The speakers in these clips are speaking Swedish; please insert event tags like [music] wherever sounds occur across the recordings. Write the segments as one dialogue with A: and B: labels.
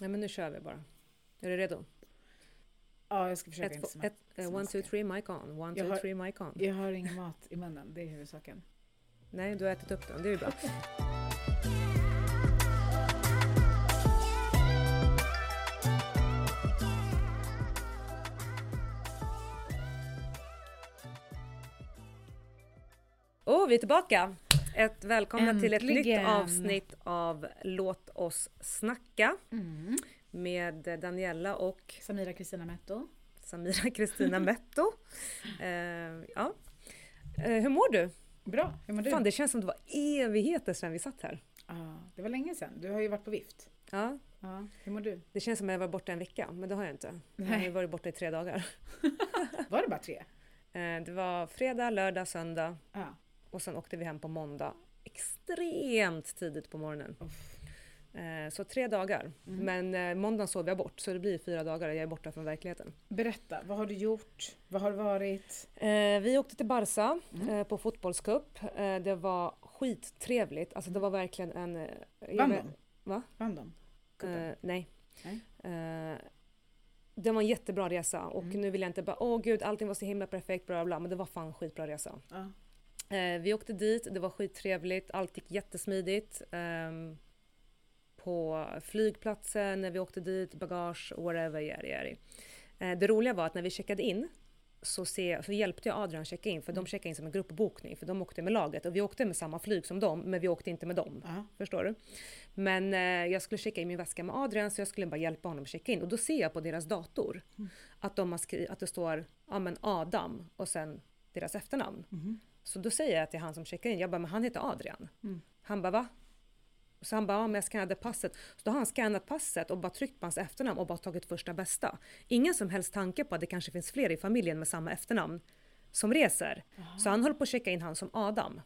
A: Nej men nu kör vi bara. Är du redo?
B: Ja, jag ska försöka
A: Ett,
B: inte
A: två,
B: sma-
A: ett, eh, one,
B: smaska.
A: two, three, mic on. One,
B: Jag
A: two,
B: har-
A: three, mic on.
B: Jag har ingen mat i munnen, det är huvudsaken.
A: Nej, du har ätit upp den. Det är ju bra. Åh, vi är tillbaka! Ett välkomna till ett nytt
B: Äntligen.
A: avsnitt av Låt oss snacka
B: Mm.
A: med Daniela och
B: Samira Kristina Metto.
A: Samira [laughs] Kristina Metto. Eh, ja. Eh, hur mår du?
B: Bra, hur mår du?
A: Fan, det känns som det var evigheter sedan vi satt här.
B: Ja, det var länge sedan, du har ju varit på vift.
A: Ja,
B: Ja, hur mår du?
A: det känns som att jag var borta en vecka, men det har jag inte. Jag har
B: Nej.
A: ju varit borta i tre dagar.
B: Var det bara tre?
A: Eh, Det var fredag, lördag, söndag
B: Ja.
A: och sen åkte vi hem på måndag extremt tidigt på morgonen.
B: Uff.
A: Eh, Så tre dagar.
B: Mm.
A: Men eh, måndagen sov jag bort, så det blir fyra dagar. Jag är borta från verkligheten.
B: Berätta, vad har du gjort? Vad har det varit?
A: Eh, vi åkte till Barca
B: Mm.
A: eh, på fotbollscup. Eh, det var skittrevligt. Alltså det var verkligen en... eh, jag
B: Vann
A: vet-
B: de?
A: Va?
B: Vann de? Cupen?
A: Eh, nej.
B: Nej.
A: Eh, det var en jättebra resa och
B: Mm.
A: nu vill jag inte bara åh gud allting var så himla perfekt bla bla, bla men det var fan skitbra resa.
B: Ja.
A: Eh, vi åkte dit, det var skittrevligt, allt gick jättesmidigt. Ehm, på flygplatsen, när vi åkte dit, bagage, whatever, yari, yari. Eh, det roliga var att när vi checkade in så, se, så hjälpte jag Adrian checka in, för de checkade in som en gruppbokning, för de åkte med laget och vi åkte med samma flyg som dem, men vi åkte inte med dem.
B: ja.
A: Förstår du? Men eh, jag skulle checka in min väska med Adrian så jag skulle bara hjälpa honom att checka in. Och då ser jag på deras dator att, de har skri- att det står ja, men Adam och sen deras efternamn. Så då säger jag till han som checkar in, jag bara, men han heter Adrian. Han bara, va? Så han bara, ja men jag scannade passet. Så då har han scannat passet och bara tryckt på hans efternamn och bara tagit första bästa. Ingen som helst tanke på att det kanske finns fler i familjen med samma efternamn som reser. Så han höll på att checka in han som Adam.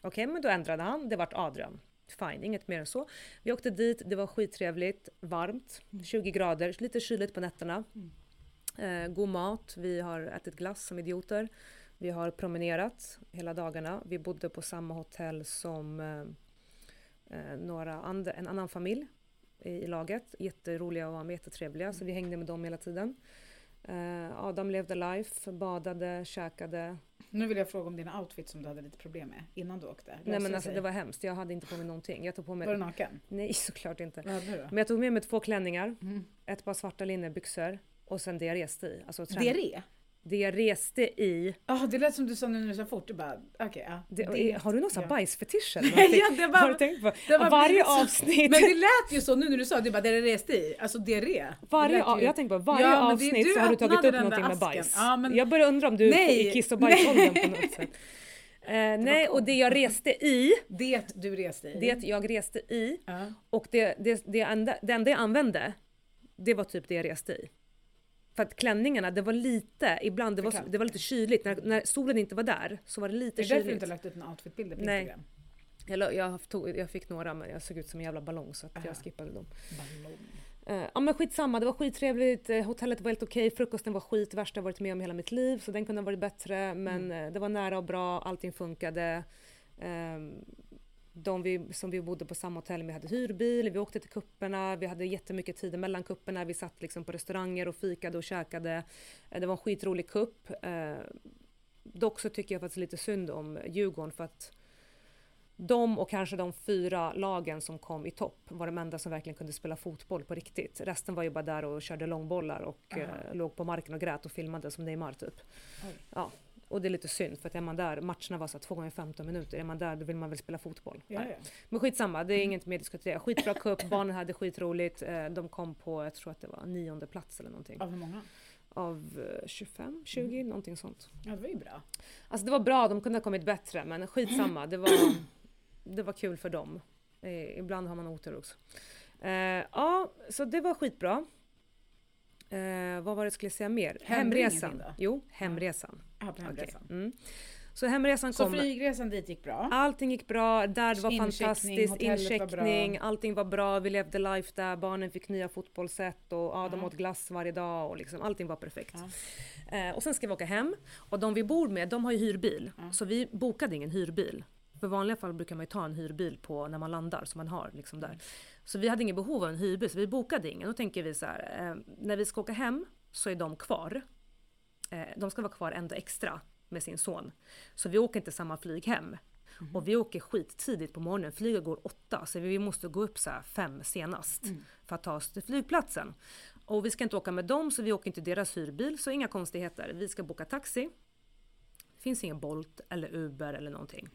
A: Okej, men då ändrade han. Det vart Adrian. Fine, inget mer än så. Vi åkte dit, det var skittrevligt, varmt, 20 grader, lite kyligt på nätterna. Eh, god mat, vi har ätit glass som idioter. Vi har promenerat hela dagarna. Vi bodde på samma hotell som eh, eh, några and- en annan familj i, i laget. Jätteroliga att vara med, jättetrevliga. Så vi hängde med dem hela tiden. Eh, Adam levde life, badade, käkade.
B: Nu vill jag fråga om dina outfits som du hade lite problem med innan du åkte. Löste
A: Nej men
B: det
A: alltså
B: sig?
A: det var hemskt, jag hade inte på mig någonting. Jag tog på mig...
B: Var du naken?
A: Nej [laughs] såklart inte.
B: Vad hade du då?
A: Men jag tog med mig två klänningar,
B: Mm.
A: ett par svarta linnebyxor och sen det jag reste i. Alltså, trän-
B: Diarré?
A: det jag reste i.
B: Ja, det lät som du sa nu när du sa fort. Du bara, okej, ja.
A: Det, har du någon sån här bajsfetisch? eller
B: Nej,
A: någonting?
B: [laughs] ja, det var-
A: Har du tänkt på?
B: det var
A: varje
B: blivit så.
A: avsnitt,
B: [laughs] Men det lät ju så nu när du sa det, du bara, det är rest i. Alltså diarré.
A: [laughs] varje,
B: Det lät
A: av-
B: ju-
A: jag tänker på varje
B: Ja, men det är
A: avsnitt
B: du
A: så har du tagit
B: öppnade
A: upp
B: den där
A: någonting med
B: asken.
A: bajs.
B: Ja, men-
A: Jag börjar undra om du
B: Nej.
A: är kiss och bajsåldern på något sätt. Eh, nej, och det jag reste i,
B: Det du reste i.
A: det jag reste i
B: Ja.
A: och det, det, det, enda, det enda jag använde, det var typ det jag reste i. För att klänningarna, det var lite, ibland, det var,
B: kallt.
A: det var lite kyligt. När, när solen inte var där så var det
B: Det
A: lite
B: är därför du
A: kyligt.
B: inte har lagt ut några outfitbilder på
A: Nej.
B: Instagram.
A: Jag, jag, tog, jag fick några men jag såg ut som en jävla ballong så att jag skippade dem.
B: Ballong.
A: Eh, Ja men skitsamma, det var skittrevligt, eh, hotellet var helt okej, frukosten var skit, det värsta jag varit med om i hela mitt liv så den kunde ha varit bättre men
B: Mm.
A: eh, det var nära och bra, allting funkade. Ehm, De vi, som vi bodde på samma hotell med hade hyrbil, vi åkte till kupperna, vi hade jättemycket tid mellan kupperna, vi satt liksom på restauranger och fikade och käkade. Eh, Det var en skitrolig kupp. Eh, Dock så tycker jag faktiskt lite synd om Djurgården för att de och kanske de fyra lagen som kom i topp var de enda som verkligen kunde spela fotboll på riktigt. Resten var ju bara där och körde långbollar och eh, låg på marken och grät och filmade som Neymar typ.
B: Oj.
A: Ja, och det är lite synd för att är man där, matcherna var så här två gånger 15 minuter, är man där då vill man väl spela fotboll.
B: Ja, Mm.
A: Nej.
B: ja.
A: Men skitsamma, det är inget mer att diskutera. Skitbra cup,
B: [laughs]
A: barnen hade skitroligt, eh, de kom på, jag tror att det var nionde plats eller någonting.
B: Av hur många?
A: Av eh, 25,
B: Mm.
A: 20, någonting sånt.
B: Ja, det var ju bra.
A: Alltså det var bra, de kunde ha kommit bättre men skitsamma. Det var, det var kul för dem. Eh, ibland har man otur också. Eh, ja, så det var skitbra. Eh, vad var det jag skulle säga mer?
B: Hände
A: hemresan.
B: ingenting då?
A: Jo, hemresan.
B: Ja, på
A: Okej.
B: hemresan.
A: Mm. Så hemresan
B: Så
A: kom.
B: flygresan dit gick bra.
A: Allting gick bra, där var
B: Incheckning,
A: fantastiskt,
B: hotellet var bra.
A: incheckning, allting var bra, vi levde life där, barnen fick nya fotbollssätt och ja, de åt glass varje dag och liksom, allting var perfekt. Eh, och sen ska vi åka hem och de vi bor med, de har ju hyrbil. Så vi
B: Mm.
A: bokade ingen hyrbil. För i vanliga fall brukar man ju ta en hyrbil på när man landar, som man har liksom där. Så vi hade inget behov av en hyrbil, så vi bokade ingen. Då tänker vi så här, eh, när vi ska åka hem så är de kvar. Eh, de ska vara kvar ändå extra med sin son. Så vi åker inte samma flyg hem. Och vi åker skittidigt på morgonen, flyget går åtta, så vi måste gå upp så här fem senast för att ta oss till flygplatsen. Och vi ska inte åka med dem, så vi åker inte i deras hyrbil, så inga konstigheter. Vi ska boka taxi. Det finns ingen Bolt eller Uber eller någonting.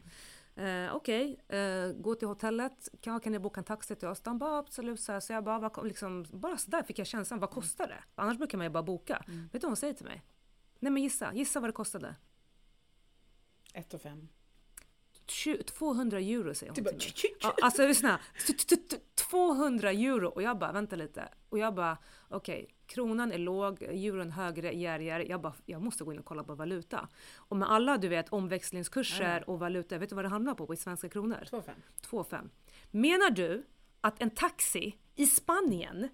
A: Eh, Okej, eh, gå till hotellet. Kan, kan ni boka en taxi till oss? De bara absolut. Så, här. så jag bara, vad, ko- liksom, bara sådär fick jag känslan, vad kostar det? Annars brukar man ju bara boka. Vet du vad hon säger till mig? Nej men gissa, gissa vad det kostade.
B: Ett och fem.
A: Tju- 200 euro säger hon
B: Du
A: till
B: Typ bara,
A: mig. Ja, alltså lyssna. T- t- t- 200 euro och jag bara vänta lite. Och jag bara okej, kronan är låg, euron högre, järjare. Jag bara jag måste gå in och kolla på valuta. Och med alla du vet omväxlingskurser och valuta, vet du vad det hamnar på i svenska kronor?
B: två och fem.
A: 2,5. Menar du att en taxi i Spanien,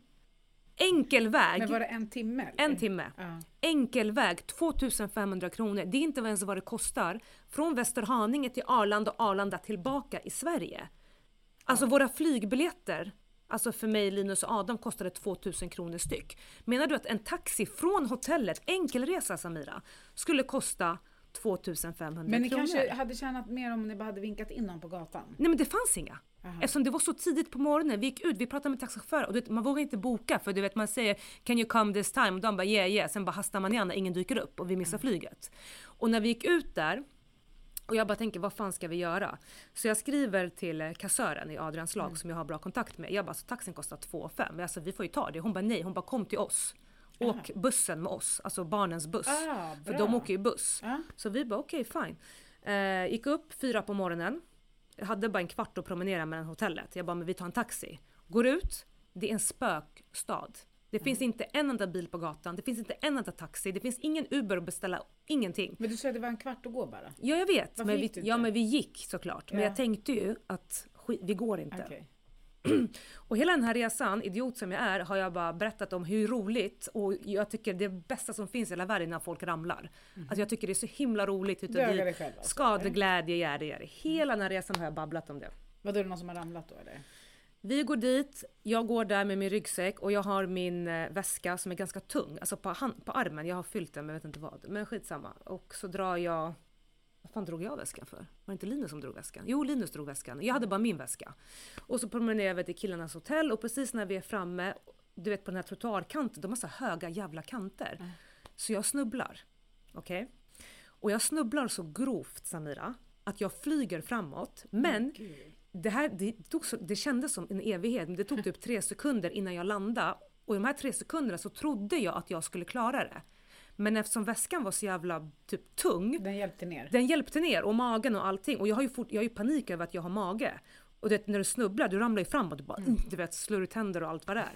A: enkel väg,
B: Men var det en timme? Eller?
A: en timme,
B: Ja.
A: enkel väg, 2500 kronor. Det är inte ens vad det kostar från Västerhaninge till Arlanda och Arlanda tillbaka i Sverige. Alltså våra flygbiljetter, alltså för mig, Linus och Adam kostade 2000 kronor styck. Menar du att en taxi från hotellet, enkelresa Samira, skulle kosta 2500
B: Men ni
A: kronor?
B: kanske hade tjänat mer om ni bara hade vinkat in någon på gatan?
A: Nej men det fanns inga.
B: Aha.
A: Eftersom det var så tidigt på morgonen, vi gick ut, vi pratade med taxichaufförer och du vet, man vågar inte boka för du vet man säger “Can you come this time?” och de bara “Yeah yeah” sen bara hastar man igen när ingen dyker upp och vi missar flyget. Och när vi gick ut där och jag bara tänker vad fan ska vi göra? Så jag skriver till eh, kassören i Adrians
B: Mm.
A: lag som jag har bra kontakt med. Jag bara “Så taxin kostar 2 5 alltså vi får ju ta det”. Hon bara “Nej”, hon bara “Kom till oss”. Åk bussen med oss, alltså barnens buss.
B: Ah,
A: för
B: bra.
A: de åker ju buss.
B: Ja.
A: Så vi bara okej fine. Eh, gick upp fyra på morgonen. Jag hade bara en kvart att promenera mellan hotellet. Jag bara men vi tar en taxi. Går ut. Det är en spökstad. Det finns inte en enda bil på gatan. Det finns inte en enda taxi. Det finns ingen Uber att beställa. Ingenting.
B: Men du sa att det var en kvart att gå bara?
A: Ja jag vet.
B: Varför
A: men
B: gick
A: vi,
B: du inte?
A: ja men vi gick såklart. Men
B: Ja.
A: jag tänkte ju att skit, vi går inte.
B: Okej.
A: Och hela den här resan, idiot som jag är, har jag bara berättat om hur roligt och jag tycker det bästa som finns i hela världen är när folk ramlar. Alltså jag tycker det är så himla roligt. Utan
B: Döga
A: vi-
B: Mm. dig själv alltså,
A: Skadeglädje, gärde, gärde. Hela den här resan har jag babblat om det.
B: Vadå, är det någon som har ramlat då eller?
A: Vi går dit, jag går där med min ryggsäck och jag har min eh, väska som är ganska tung, alltså på, hand, på armen. Jag har fyllt den men jag vet inte vad. Men skitsamma. Och så drar jag... Vad fan drog jag väskan för? Var det inte Linus som drog väskan? Jo, Linus drog väskan. Jag hade bara min väska. Och så promenerar vi till killarnas hotell och precis när vi är framme, du vet på den här trottoarkanten, de har så här höga jävla kanter. Så jag snubblar. Okej? Och jag snubblar så grovt Samira, att jag flyger framåt. Men det, här, det, tog så, det kändes som en evighet, men det tog typ tre sekunder innan jag landade. Och i de här tre sekunderna så trodde jag att jag skulle klara det. Men eftersom väskan var så jävla typ tung,
B: Den hjälpte ner?
A: den hjälpte ner och magen och allting. Och jag har ju, fort, jag har ju panik över att jag har mage. Och du vet, när du snubblar, du ramlar ju framåt. Du, bara,
B: Mm.
A: du vet, slår ut tänder och allt vad det är.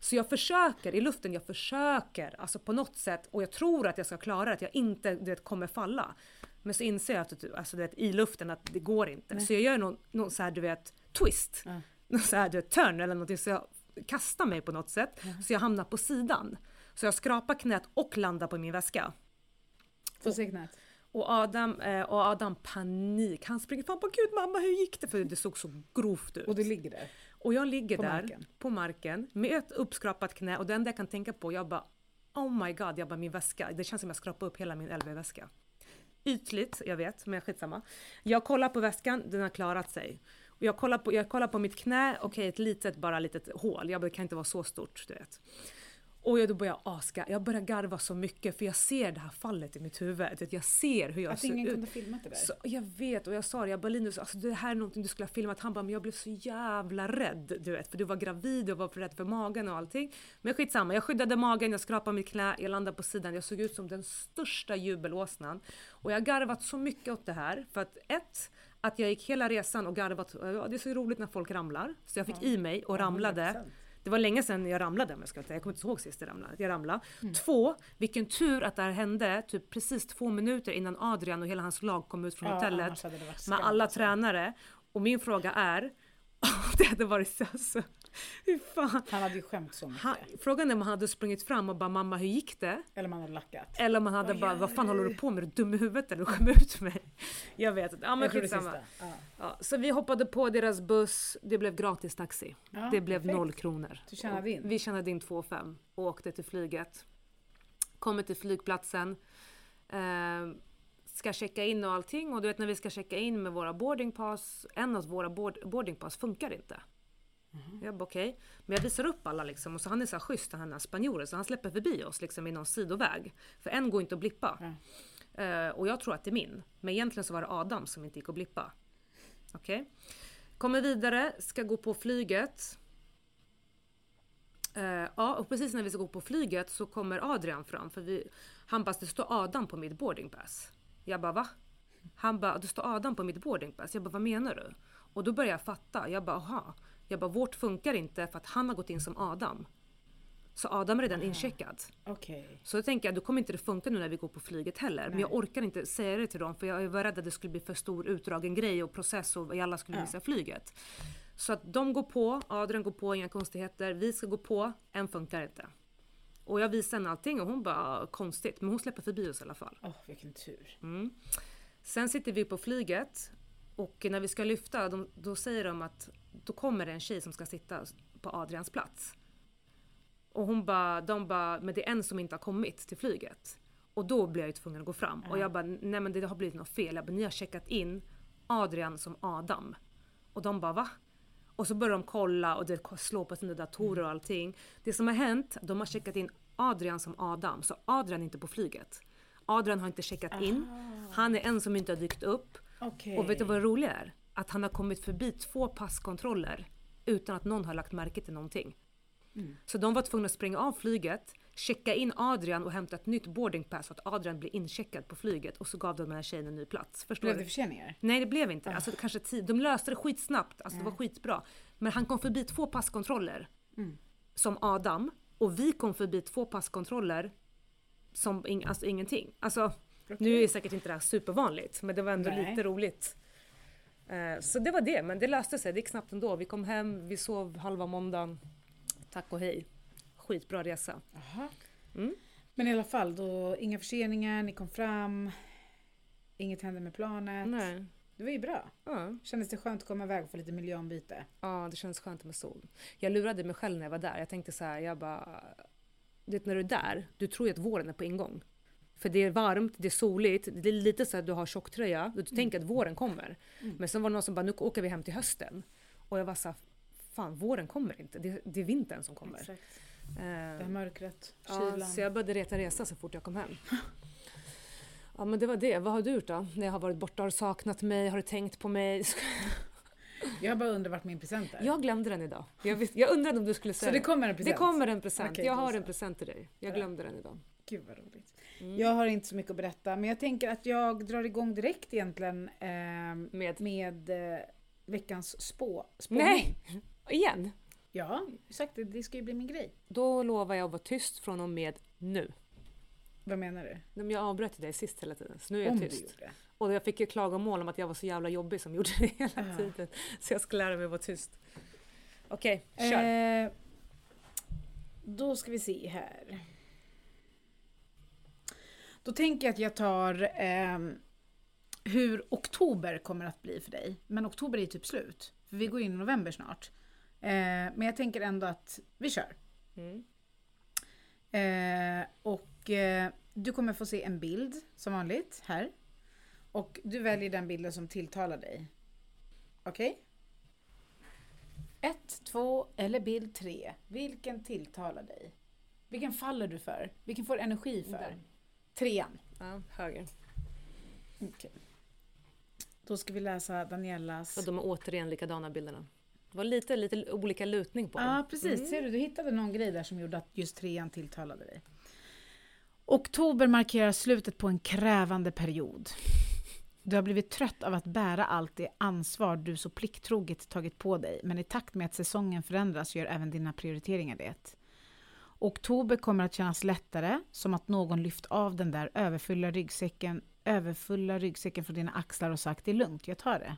A: Så jag försöker i luften, jag försöker alltså på något sätt och jag tror att jag ska klara det, att jag inte du vet, kommer falla. Men så inser jag att, du- alltså, du vet, i luften att det går inte. Så jag gör någon, någon så här, du vet, twist.
B: Ja.
A: Någon så här, du vet, turn eller någonting. Så jag kastar mig på något sätt. Så jag hamnar på sidan. Så jag skrapar knät och landar på min väska.
B: På signet?
A: Och Adam, eh, och Adam panik. Han springer fram och bara “Gud mamma hur gick det?” för det såg så grovt ut.
B: Och du ligger där?
A: Och jag ligger
B: På
A: där
B: marken.
A: på marken med ett uppskrapat knä och det enda jag kan tänka på, jag bara Oh my god, jag bara min väska. Det känns som jag skrapar upp hela min LV-väska. Ytligt, jag vet, men skitsamma. Jag kollar på väskan, den har klarat sig. Och jag, kollar på, jag kollar på mitt knä, okej ett litet, bara litet hål. Jag bara, det kan inte vara så stort, du vet. Och jag, då börjar jag aska. Jag börjar garva så mycket för jag ser det här fallet i mitt huvud. Du vet, Jag ser hur jag
B: Att
A: ser
B: ingen
A: Alltså, ut.
B: kunde filma det där?
A: Så, jag vet och jag sa det, jag bara Linus, alltså, det här är någonting du skulle ha filmat. Han bara, men jag blev så jävla rädd. Du vet, för du var gravid och var för rädd för magen och allting. Men skitsamma, jag skyddade magen, jag skrapade mitt knä, jag landade på sidan. Jag såg ut som den största jubelåsnan. Och jag har garvat så mycket åt det här. För att ett, att jag gick hela resan och garvat. Ja, det är så roligt när folk ramlar. Så jag fick i mig och ramlade.
B: 100%.
A: Det var länge sedan jag ramlade om jag ska säga. Jag kommer inte ihåg sist jag ramlade. Jag ramlade. Två, vilken tur att det här hände typ precis två minuter innan Adrian och hela hans lag kom ut från
B: Ja, annars
A: hotellet
B: hade det varit
A: med
B: skam,
A: alla
B: alltså.
A: [laughs] tränare. Och min fråga är, det hade varit så, så Hur fan?
B: Han hade ju skämt så mycket.
A: Han, frågan är om han hade sprungit fram och bara “mamma hur gick det?”
B: Eller man hade lackat.
A: Eller om han hade
B: Vad
A: bara
B: gör
A: “vad fan håller du
B: du?"
A: på med? Är du dum i huvudet eller skämmer ut mig?” Jag vet inte. Ja men
B: Jag tror det
A: skitsamma.
B: sista. Ja.
A: Ja, så vi hoppade på deras buss, det blev gratis taxi.
B: Ja,
A: det blev
B: perfekt.
A: noll kronor.
B: Du tjänade in.
A: Och Vi tjänade in 2 5 och åkte till flyget. Kommer till flygplatsen. Eh, ska checka in och allting och du vet när vi ska checka in med våra boardingpass, en av våra board, boardingpass funkar inte. Jag bara okej. Men jag visar upp alla liksom och så han är så här schysst han är spanjoren så han släpper förbi oss liksom i någon sidoväg. För en går inte att blippa.
B: Ja.
A: Eh, och jag tror att det är min. Men egentligen så var det Adam som inte gick att blippa. Okej. Kommer vidare, ska gå på flyget. Eh, ja, och precis när vi ska gå på flyget så kommer Adrian fram. För vi, han bara, det står Adam på mitt boarding pass. Jag bara, va? Han bara, det står Adam på mitt boarding pass. Jag bara, vad menar du? Och då börjar jag fatta. Jag bara, aha. Jag bara, vårt funkar inte för att han har gått in som Adam. Så Adam är redan incheckad.
B: Okej.
A: Så då tänker jag, då kommer inte det funka nu när vi går på flyget heller. Men jag orkar inte säga det till dem för jag var rädd att det skulle bli för stor utdragen grej och process och vi alla skulle missa flyget. Så att de går på, Adrian går på, inga konstigheter. Vi ska gå på, en funkar inte. Och jag visar henne allting och hon bara, "Ah, konstigt. Men hon släpper förbi oss i alla fall.
B: Åh, vilken tur.
A: Mm. Sen sitter vi på flyget och när vi ska lyfta de, då säger de att då kommer det en tjej som ska sitta på Adrians plats. Och hon bara, de bara, men det är en som inte har kommit till flyget. Och då blir jag ju tvungen att gå fram. Och jag bara, nej men det har blivit något fel. Jag bara, ni har checkat in Adrian som Adam. Och de bara, va? Och så börjar de kolla och det slå på sina datorer
B: Mm.
A: och allting. Det som har hänt, de har checkat in Adrian som Adam, så Adrian är inte på flyget. Adrian har inte checkat in. Han är en som inte har dykt upp.
B: Ah. Okej.
A: Och vet du vad det roliga är? Att han har kommit förbi två passkontroller utan att någon har lagt märke till någonting.
B: Mm.
A: Så de var tvungna att springa av flyget, checka in Adrian och hämta ett nytt boardingpass så att Adrian blir incheckad på flyget och så gav de den här tjejen en ny plats. Förstår
B: Blev
A: du?
B: det förseningar?
A: Nej det blev inte. Alltså, kanske tid. De löste det skitsnabbt, alltså, det var skitbra. Men han kom förbi två passkontroller som Adam och vi kom förbi två passkontroller som ing- alltså, ingenting. Alltså, Nu är det säkert inte det här supervanligt men det var ändå
B: Nej.
A: lite roligt. Eh, Så det var det, men det löste sig. Det gick snabbt ändå. Vi kom hem, vi sov halva måndagen. Tack och hej. Skitbra resa.
B: Jaha.
A: Mm.
B: Men i alla fall, då, inga förseningar, ni kom fram. Inget hände med planet.
A: Nej.
B: Det var ju bra.
A: Ja.
B: Kändes det skönt att komma iväg och få lite miljöombyte?
A: Ja, det känns skönt med sol. Jag lurade mig själv när jag var där. Jag tänkte så här, jag bara... Du vet när du är där, du tror ju att våren är på ingång. För det är varmt, det är soligt, det är lite så att du har tjocktröja.
B: Mm.
A: Du tänker att våren kommer. Men sen var det någon som bara, nu åker vi hem till hösten. Och jag var så här, fan våren kommer inte. Det, det är vintern som kommer.
B: Exakt. Det här
A: Eh,
B: mörkret, kylan.
A: ja, så jag började reta resa så fort jag
B: [laughs]
A: kom hem. Ja men det var det. Vad har du gjort då? När jag har varit borta, har du saknat mig? Har du tänkt på mig? [laughs]
B: Jag bara undrar vart min present är.
A: Jag glömde den idag. Jag, visste- jag undrade om du skulle
B: så
A: säga
B: det kommer en present?
A: Det kommer en present.
B: Okej,
A: jag
B: då
A: har
B: så.
A: en present till dig. Jag
B: Bra.
A: glömde den idag. Mm.
B: Gud vad roligt. Jag har inte så mycket att berätta men jag tänker att jag drar igång direkt egentligen ehm,
A: Med?
B: med eh, veckans spå. spåning.
A: Nej! Igen?
B: Ja, exakt. Det, det ska ju bli min grej.
A: Då lovar jag att vara tyst från och med nu.
B: Vad menar du?
A: Men Jag avbröt dig sist hela tiden, så nu är jag
B: Om du
A: tyst.
B: gjorde.
A: Och jag fick ju klagomål om att jag var så jävla jobbig som gjorde det hela
B: Ja.
A: tiden. Så jag ska lära mig att vara tyst. Okej, kör.
B: Eh, då ska vi se här. Då tänker jag att jag tar ehm, hur oktober kommer att bli för dig. Men oktober är ju typ slut. För vi går in i november snart. Eh, men jag tänker ändå att vi kör.
A: Mm.
B: Eh, och eh, du kommer få se en bild som vanligt här. Och du väljer den bilden som tilltalar dig. Okej? Ett, två eller bild tre. Vilken tilltalar dig? Vilken faller du för? Vilken får du energi för?
A: Den.
B: Trean.
A: Ja, höger.
B: Okej. Då ska vi läsa Danielas...
A: Och de är återigen likadana bilderna. Det var lite, lite olika lutning på
B: Ja,
A: dem.
B: precis. Ser du, du hittade någon grej där som gjorde att just trean tilltalade dig. Oktober markerar slutet på en krävande period. Du har blivit trött av att bära allt det ansvar du så plikttroget tagit på dig, men i takt med att säsongen förändras gör även dina prioriteringar det. Oktober kommer att kännas lättare, som att någon lyft av den där överfulla ryggsäcken, överfulla ryggsäcken från dina axlar och sagt det är lugnt, jag tar det.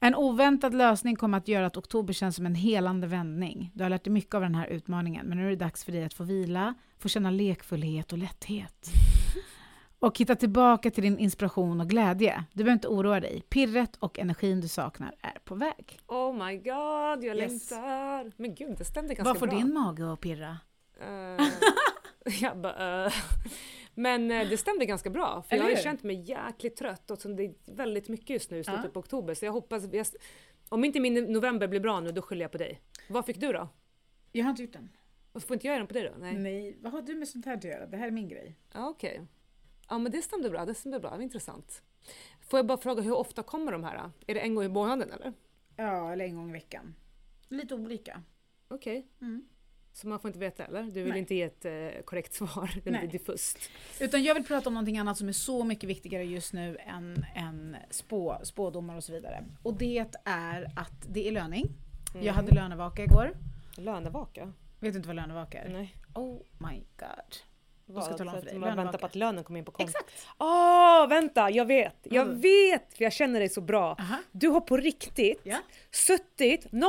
B: En oväntad lösning kommer att göra att oktober känns som en helande vändning. Du har lärt dig mycket av den här utmaningen, men nu är det dags för dig att få vila, få känna lekfullhet och lätthet. Och hitta tillbaka till din inspiration och glädje. Du behöver inte oroa dig. Pirret och energin du saknar är på väg.
A: Oh my god, jag
B: Yes.
A: längtar! Men gud, det stämde ganska
B: Vad får
A: bra.
B: din mage att pirra?
A: Eh, [laughs] jag bara, eh. Men eh, det stämde ganska bra, för jag
B: Eller
A: har ju
B: hur?
A: känt mig jäkligt trött och som det är väldigt mycket just nu i slutet
B: Ja.
A: på oktober. Så jag hoppas, jag, om inte min november blir bra nu, då skyller jag på dig. Vad fick du då?
B: Jag har inte gjort den.
A: Får inte jag göra den på dig då? Nej.
B: Nej, vad har du med sånt här att göra? Det här är min grej.
A: Ja, Okej. Ja men det stämde bra, det stämde bra, det var intressant. Får jag bara fråga, hur ofta kommer de här? Är det en gång i månaden eller?
B: Ja, eller en gång i veckan. Lite olika.
A: Okej.
B: Mm.
A: Så man får inte veta eller? Du vill
B: Nej.
A: inte ge ett eh, korrekt svar, [laughs] det blir
B: Nej.
A: diffust.
B: Utan jag vill prata om någonting annat som är så mycket viktigare just nu än, än spå, spådomar och så vidare. Och det är att det är löning. Jag hade lönevaka igår.
A: Mm. lönevaka.
B: Vet du inte vad lönevaka är?
A: Nej.
B: Oh my god.
A: Vad,
B: ska jag tala om
A: för
B: för
A: att
B: dig?
A: Man väntar
B: Lönevaka.
A: på att lönen kommer in på kontot.
B: Exakt!
A: Åh, vänta! Jag vet! Jag
B: Mm.
A: vet! För jag känner dig så bra.
B: Aha.
A: Du har på riktigt
B: Ja.
A: suttit 0000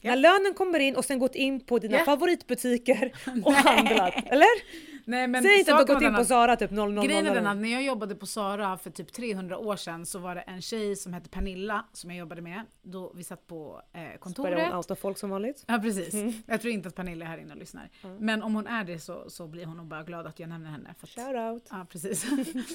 B: Ja.
A: när lönen kommer in och sen gått in på dina
B: Ja. [laughs]
A: favoritbutiker och
B: Nej.
A: handlat. Eller?
B: Nej, men
A: Säg inte att du har
B: saken
A: gått in
B: var
A: på
B: den att-
A: Zara typ 0000.
B: Grejen är den att när jag jobbade på Sara för typ 300 år sedan så var det en tjej som hette Pernilla som jag jobbade med. Då vi satt på eh,
A: Börjar
B: kontoret.
A: hon outa folk som vanligt?
B: Ja precis. [laughs] Jag tror inte att Pernilla är här inne och lyssnar. Men om hon är det så, så blir hon nog bara glad att jag nämner henne. För att,
A: Shoutout!
B: Ja, precis.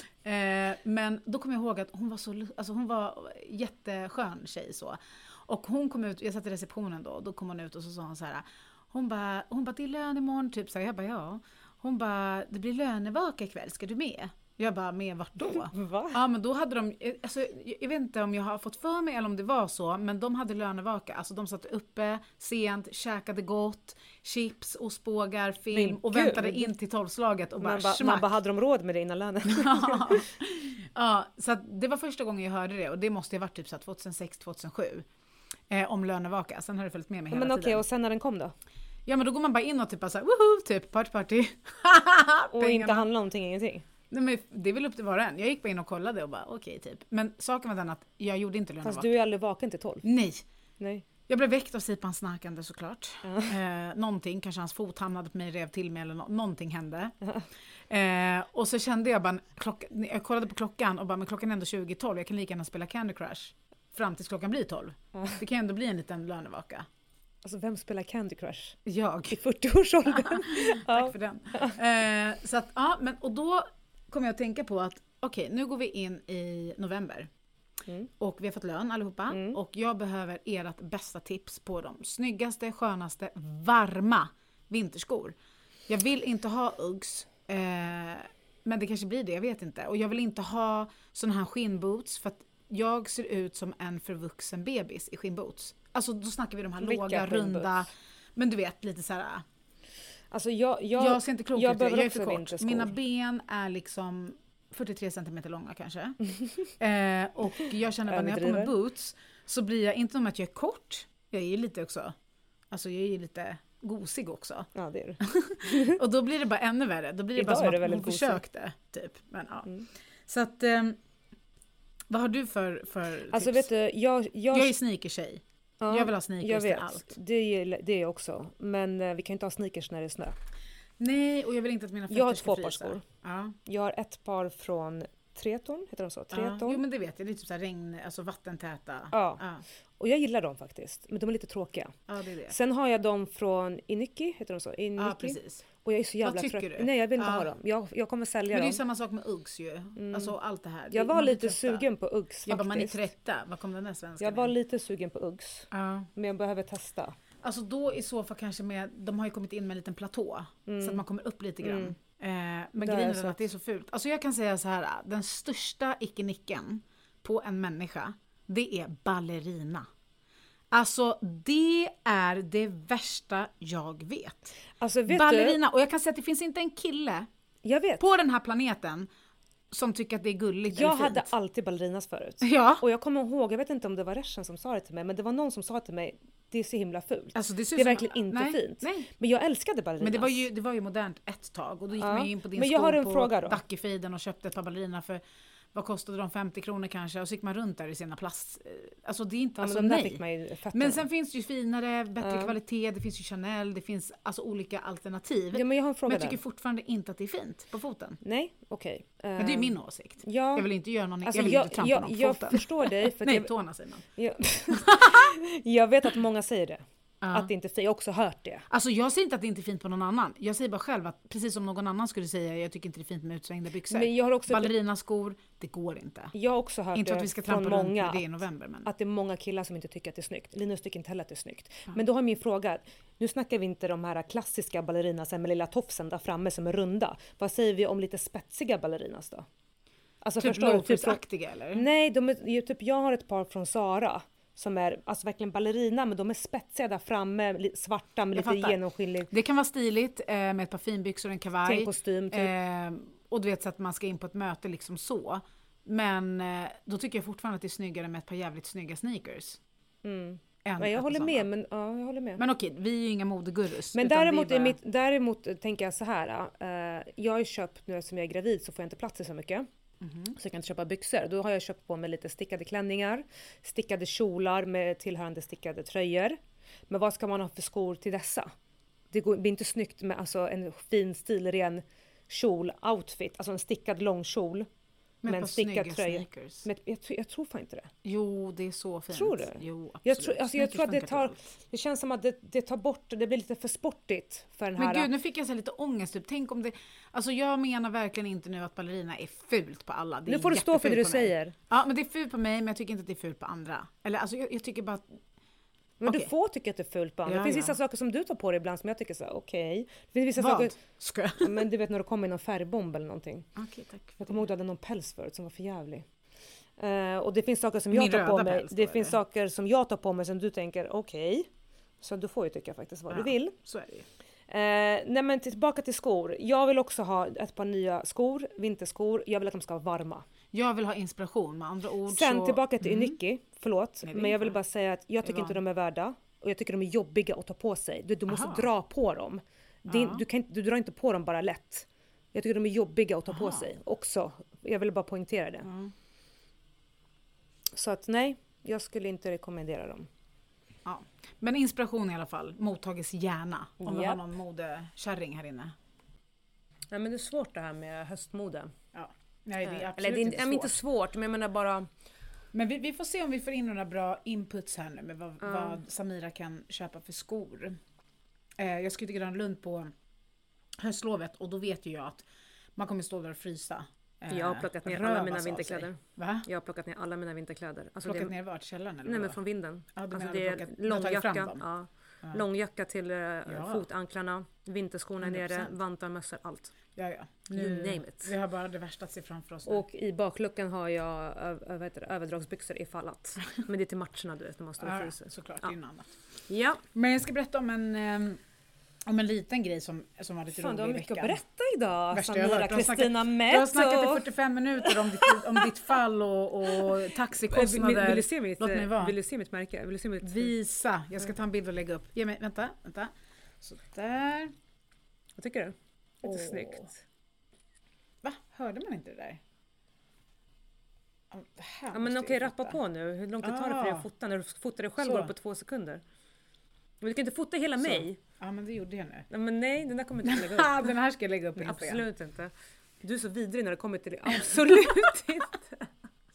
B: [laughs] eh, men då kommer jag ihåg att hon var så, lu- alltså hon var jätteskön tjej så. Och hon kom ut, jag satt i receptionen då, och då kom hon ut och så sa hon så här. Hon bara, hon bara, det är lön imorgon, typ så här, jag bara ja. Hon bara, det blir lönevaka ikväll, ska du med? Jag bara, med vart då?
A: [laughs] Va?
B: Ja men då hade de, eh, alltså, jag- jag vet inte om jag har fått för mig eller om det var så, men de hade lönevaka. Alltså de satt uppe sent, käkade gott, chips, ostbågar, film
A: Men
B: och väntade
A: gud.
B: in till tolvslaget och bara
A: Man bara, man
B: smack.
A: bara, hade de råd med det innan
B: [laughs]
A: lönen?
B: ja. så att det var första gången jag hörde det och det måste ju ha varit typ så här 2006, 2007. Eh, om lönevaka, sen har det följt med mig hela
A: Men okej,
B: tiden. Ah,
A: och sen när den kom då?
B: Ja men då går man bara in och typ bara såhär woho, typ party party. [laughs]
A: Och
B: Pengarna.
A: inte handla om någonting, ingenting?
B: Nej men det är väl upp till var och en. Jag gick bara in och kollade och bara okej typ. Men saken var den att jag gjorde inte lönevaka.
A: Fast du är aldrig vaken till 12?
B: Nej.
A: Nej.
B: Jag blev väckt av Sipans snarkande såklart. Eh, någonting, kanske hans fot hamnade på mig, rev till mig eller no- någonting hände. Eh, och så kände jag bara, klocka, jag kollade på klockan och bara, men klockan är ändå 20.12, jag kan lika gärna spela Candy Crush. Fram tills klockan blir 12. Det kan ju ändå bli en liten lönevaka.
A: Alltså vem spelar Candy Crush
B: Jag.
A: i [laughs] 40-årsåldern?
B: Tack för den. Eh, så att, ja, men, och då kom jag att tänka på att okej, nu går vi in i november.
A: Mm.
B: Och vi har fått lön allihopa. Och jag behöver ert bästa tips på de snyggaste, skönaste, varma vinterskor. Jag vill inte ha Uggs. Eh, men det kanske blir det, jag vet inte. Och jag vill inte ha såna här skinnboots för att jag ser ut som en förvuxen bebis i skinnboots. Alltså då snackar vi de här
A: Vilka
B: låga, runda,
A: skinnboots?
B: men du vet lite så här
A: Alltså jag, jag,
B: jag ser inte klok
A: jag
B: ut, jag
A: behöver
B: är
A: också
B: för kort.
A: vinterskor.
B: Mina ben är liksom 43 centimeter långa kanske.
A: [laughs]
B: eh, och jag känner bara när jag har på mig
A: Överdriver.
B: boots så blir jag, inte om att jag är kort, jag är ju lite också, alltså jag är ju lite gosig också.
A: [laughs] Ja det är det.
B: Och då blir det bara ännu värre, då blir det
A: Idag
B: bara
A: är
B: som
A: det
B: att hon
A: väldigt gosig.
B: försökte. Typ. Men, ja.
A: Mm.
B: Så att, ehm, vad har du för, för
A: Alltså
B: tips?
A: vet du, jag... Jag,
B: jag är sneakertjej,
A: ja,
B: jag vill ha sneakers
A: jag vet.
B: till allt.
A: Det är, det är jag också. Men eh, vi kan ju inte ha sneakers när det är snö.
B: Nej, och jag vill inte att mina fötter
A: Jag har
B: ska
A: två par
B: frysa.
A: skor.
B: Ja.
A: Jag har ett par från Treton, heter de så?
B: Ja.
A: Treton.
B: Jo men det vet jag, det är typ så här regn, alltså vattentäta.
A: Ja.
B: Ja,
A: Och jag gillar dem faktiskt, men de är lite tråkiga.
B: ja det är det.
A: Sen har jag dem från Inycki, heter de så?
B: Ja
A: Inycki.
B: precis.
A: och jag är så jävla
B: tycker
A: trött.
B: du?
A: Nej jag vill inte
B: Ja.
A: ha dem. Jag, jag kommer sälja
B: Men det är
A: dem.
B: ju samma sak med Uggs ju. Alltså allt det här.
A: Mm. Jag
B: Det-
A: var
B: man blir
A: lite
B: trötta.
A: sugen på Uggs faktiskt.
B: Jag bara man är trötta, vad kom den där svenskan
A: jag var
B: in?
A: lite sugen på Uggs.
B: Ja.
A: Men jag behöver testa.
B: Alltså då i så fall kanske med, de har ju kommit in med en liten platå. Så
A: Mm.
B: att man kommer upp lite grann. Eh, men
A: har
B: grejen är
A: jag
B: den
A: sett.
B: att det är så fult. Alltså jag kan säga så här, den största icke-nicken på en människa, det är ballerina. Alltså det är det värsta jag vet.
A: Alltså vet du?
B: ballerina, och jag kan säga att det finns inte en kille
A: Jag vet.
B: på den här planeten som tycker att det är gulligt
A: Jag
B: eller fint.
A: hade alltid ballerinas förut.
B: Ja.
A: Och jag kommer ihåg, jag vet inte om det var Reshen som sa det till mig, men det var någon som sa till mig det är så himla fult.
B: Alltså, det, ser
A: det är
B: ut som-
A: verkligen inte
B: nej,
A: fint.
B: Nej.
A: Men jag älskade ballerinas.
B: Men det var, ju, det var ju modernt ett tag och då gick
A: Ja.
B: man ju in på din
A: Men jag har
B: skor
A: en
B: på
A: fråga då.
B: Dackefejden och köpte ett par ballerina för Vad kostade de? 50 kronor kanske? Och så gick man runt där i sina plast... Alltså det är inte...
A: Ja,
B: alltså,
A: men de där
B: nej.
A: fick man ju fötterna.
B: Men sen finns det ju finare, bättre
A: Ja.
B: kvalitet, det finns ju Chanel, det finns alltså olika alternativ.
A: ja, men jag har en
B: men
A: fråga
B: jag tycker
A: där.
B: fortfarande inte att det är fint på foten.
A: Nej, okej. Ehm,
B: Men det är min åsikt.
A: Ja,
B: Jag vill inte göra någon,
A: alltså,
B: jag vill
A: jag,
B: inte trampa
A: jag,
B: någon på
A: jag
B: foten.
A: förstår dig. För att
B: Nej,
A: jag,
B: tårna säger man.
A: jag,
B: [laughs]
A: jag vet att många säger det.
B: Ja.
A: Att det inte är fint. Jag har också hört det.
B: Alltså jag säger inte att det inte är fint på någon annan. Jag säger bara själv att precis som någon annan skulle säga, jag tycker inte det är fint med utsvängda byxor.
A: Men jag har också,
B: Ballerinaskor, det går inte.
A: jag har också hört
B: Inte
A: det
B: att vi ska
A: från
B: trampa runt
A: många
B: med det i november men.
A: att det är många killar som inte tycker att det är snyggt. Linus tycker inte heller att det är snyggt. Men då har min fråga, nu snackar vi inte de här klassiska ballerinas med lilla tofsen där framme som är runda. Vad säger vi om lite spetsiga ballerinas då? Alltså
B: typ
A: förstår du? Typ från,
B: loafers-aktiga eller?
A: nej, de är, ju typ, jag har ett par från Sara som är alltså verkligen ballerina men de är spetsiga där framme, li, svarta med
B: Jag
A: lite
B: fattar.
A: genomskinlig
B: Det kan vara stiligt eh, med ett par finbyxor och en
A: till
B: kavaj.
A: en kostym. Typ.
B: Eh, och du vet så att man ska in på ett möte liksom så. Men eh, då tycker jag fortfarande att det är snyggare med ett par jävligt snygga sneakers.
A: Mm.
B: än
A: Men jag
B: ett par
A: håller
B: sådana.
A: med, men ja, jag håller med.
B: Men okej, vi är ju inga modegurus.
A: Men
B: utan det är
A: däremot, är
B: bara-
A: mitt, däremot eh, tänker jag så här. eh, jag har ju köpt, nu som jag är gravid så får jag inte plats i så mycket.
B: Mhm.
A: Så jag kan inte köpa byxor. Då har jag köpt på mig lite stickade klänningar, stickade kjolar med tillhörande stickade tröjor. Men vad ska man ha för skor till dessa? Det går, blir inte snyggt med alltså, en fin stilren kjol-outfit, alltså en stickad lång kjol.
B: Med
A: men
B: ett par
A: stickad
B: snygga
A: tröja.
B: sneakers.
A: Men jag, tr- jag tror fan inte det.
B: Jo, det är så fint.
A: Tror du?
B: Jo, absolut.
A: Jag tror- alltså, jag
B: Sneakers
A: tror att det
B: funkar till
A: tar-
B: allt.
A: Det känns som att det, det tar bort, det blir lite för sportigt för den här...
B: Men gud, nu fick jag så här lite ångest. Typ. Tänk om det... Alltså jag menar verkligen inte nu att ballerina är fult på alla. Det
A: nu
B: är
A: får du stå för det du
B: jättefult på mig.
A: säger.
B: Ja, men det är fult på mig, men jag tycker inte att det är fult på andra. Eller alltså jag, jag tycker bara att...
A: Men du
B: Okej.
A: får tycka att det är fult på andra.
B: Ja,
A: det finns
B: ja.
A: vissa saker som du tar på dig ibland som jag tycker så här, okej. Det finns vissa
B: Vad?
A: saker,
B: Ska jag?
A: Ja, men du vet när det kommer någon färgbomb eller någonting.
B: [laughs] Okej, tack.
A: Jag kommer ihåg att du hade någon päls förut som var för jävlig. Eh, och det finns saker som jag
B: Min
A: tar på
B: röda
A: mig.
B: päls då,
A: det finns
B: eller?
A: saker som jag tar på mig som du tänker okej. Så du får ju tycka faktiskt vad du
B: Ja.
A: vill.
B: Så är det ju.
A: Eh, nej men tillbaka till skor. Jag vill också ha ett par nya skor, vinterskor. Jag vill att de ska vara varma.
B: Jag vill ha inspiration, med andra ord
A: Sen
B: så...
A: tillbaka till
B: Mm.
A: Uniqui, förlåt.
B: Nej, det
A: men
B: är
A: jag
B: ingen
A: vill
B: fara.
A: bara säga att jag
B: är
A: tycker inte
B: van.
A: de är värda. Och jag tycker de är jobbiga att ta på sig. Du, du måste
B: Aha.
A: dra på dem. Det är-
B: Ja.
A: du, kan, inte- du drar inte på dem bara lätt. Jag tycker de är jobbiga att ta på
B: Aha.
A: sig också. Jag vill bara poängtera det.
B: Ja.
A: Så att nej, jag skulle inte rekommendera dem.
B: Ja. Men inspiration i alla fall, mottages gärna. Om vi har
A: Japp.
B: någon modekärring här inne.
A: Nej men det är svårt det här med höstmode. Eh,
B: Ja. Nej, det är absolut
A: Eller det är inte,
B: inte svårt.
A: svårt. inte svårt, men jag menar bara...
B: Men vi, vi får se om vi får in några bra inputs här nu med vad,
A: Ja.
B: vad Samira kan köpa för skor. Eh, jag ska ju till Gröna Lund på höstlovet och då vet ju jag att man kommer stå där och frysa. eh,
A: Jag har plockat ner
B: rövas
A: alla mina
B: av sig.
A: vinterkläder.
B: Va?
A: Jag har plockat ner alla mina vinterkläder. Alltså
B: Plockat
A: det,
B: ner vart? Källaren eller
A: nej men
B: vadå?
A: från vinden.
B: Ja, du
A: Alltså
B: menar
A: det
B: du
A: är
B: plockat- du har tagit fram
A: långjacka. Ja.
B: dem? Ja.
A: Långjacka till eh,
B: Ja.
A: fotanklarna, vinterskorna nere,
B: 100%.
A: vantar, mössor, allt.
B: Ja, ja.
A: You name it.
B: Vi har bara det värsta att se framför oss nu.
A: Och i bakluckan har jag ö- ö- vad heter det, överdragsbyxor ifall
B: [laughs]
A: att. Men det är till matcherna du vet, när man står och
B: ja,
A: fryser.
B: såklart,
A: Ja.
B: det är ju något annat.
A: Ja,
B: Men jag ska berätta om en, ehm, om en liten grej som, som var lite
A: fan du
B: rolig
A: har
B: i
A: mycket att
B: veckan.
A: berätta Alltså. idag.
B: Värsta jag har
A: Samira
B: hört. Du har snackat-
A: Kristina
B: Du har snackat i
A: Metso.
B: 45 minuter om ditt, om ditt fall och,
A: [laughs]
B: och
A: Vill, Eh, vill,
B: taxikostnader.
A: vill, du se mitt,
B: Låt mig
A: eh,
B: vara.
A: vill du se mitt märke? Vill du se mitt...
B: Visa. Jag ska ta en bild och lägga upp. Ge mig, vänta, vänta. Sådär.
A: Vad tycker du? Lite
B: Åh.
A: snyggt.
B: Va? Hörde man inte det där? Ja, det
A: Ja,
B: här måste
A: men
B: jag
A: okej,
B: ju
A: rappa
B: fatta.
A: på nu. Hur lång tid tar det för dig
B: Ah.
A: att fota när du fotar dig själv
B: Så.
A: går det på två sekunder? Men du kan inte fota hela
B: Så.
A: mig.
B: Ja men det
A: [laughs]
B: gjorde jag nu.
A: Nej, men nej, den där kommer inte lägga upp. [laughs]
B: Ha, den här ska jag lägga upp på Instagram.
A: Absolut inte. Du är så vidrig när det kommer till... [laughs] Absolut inte!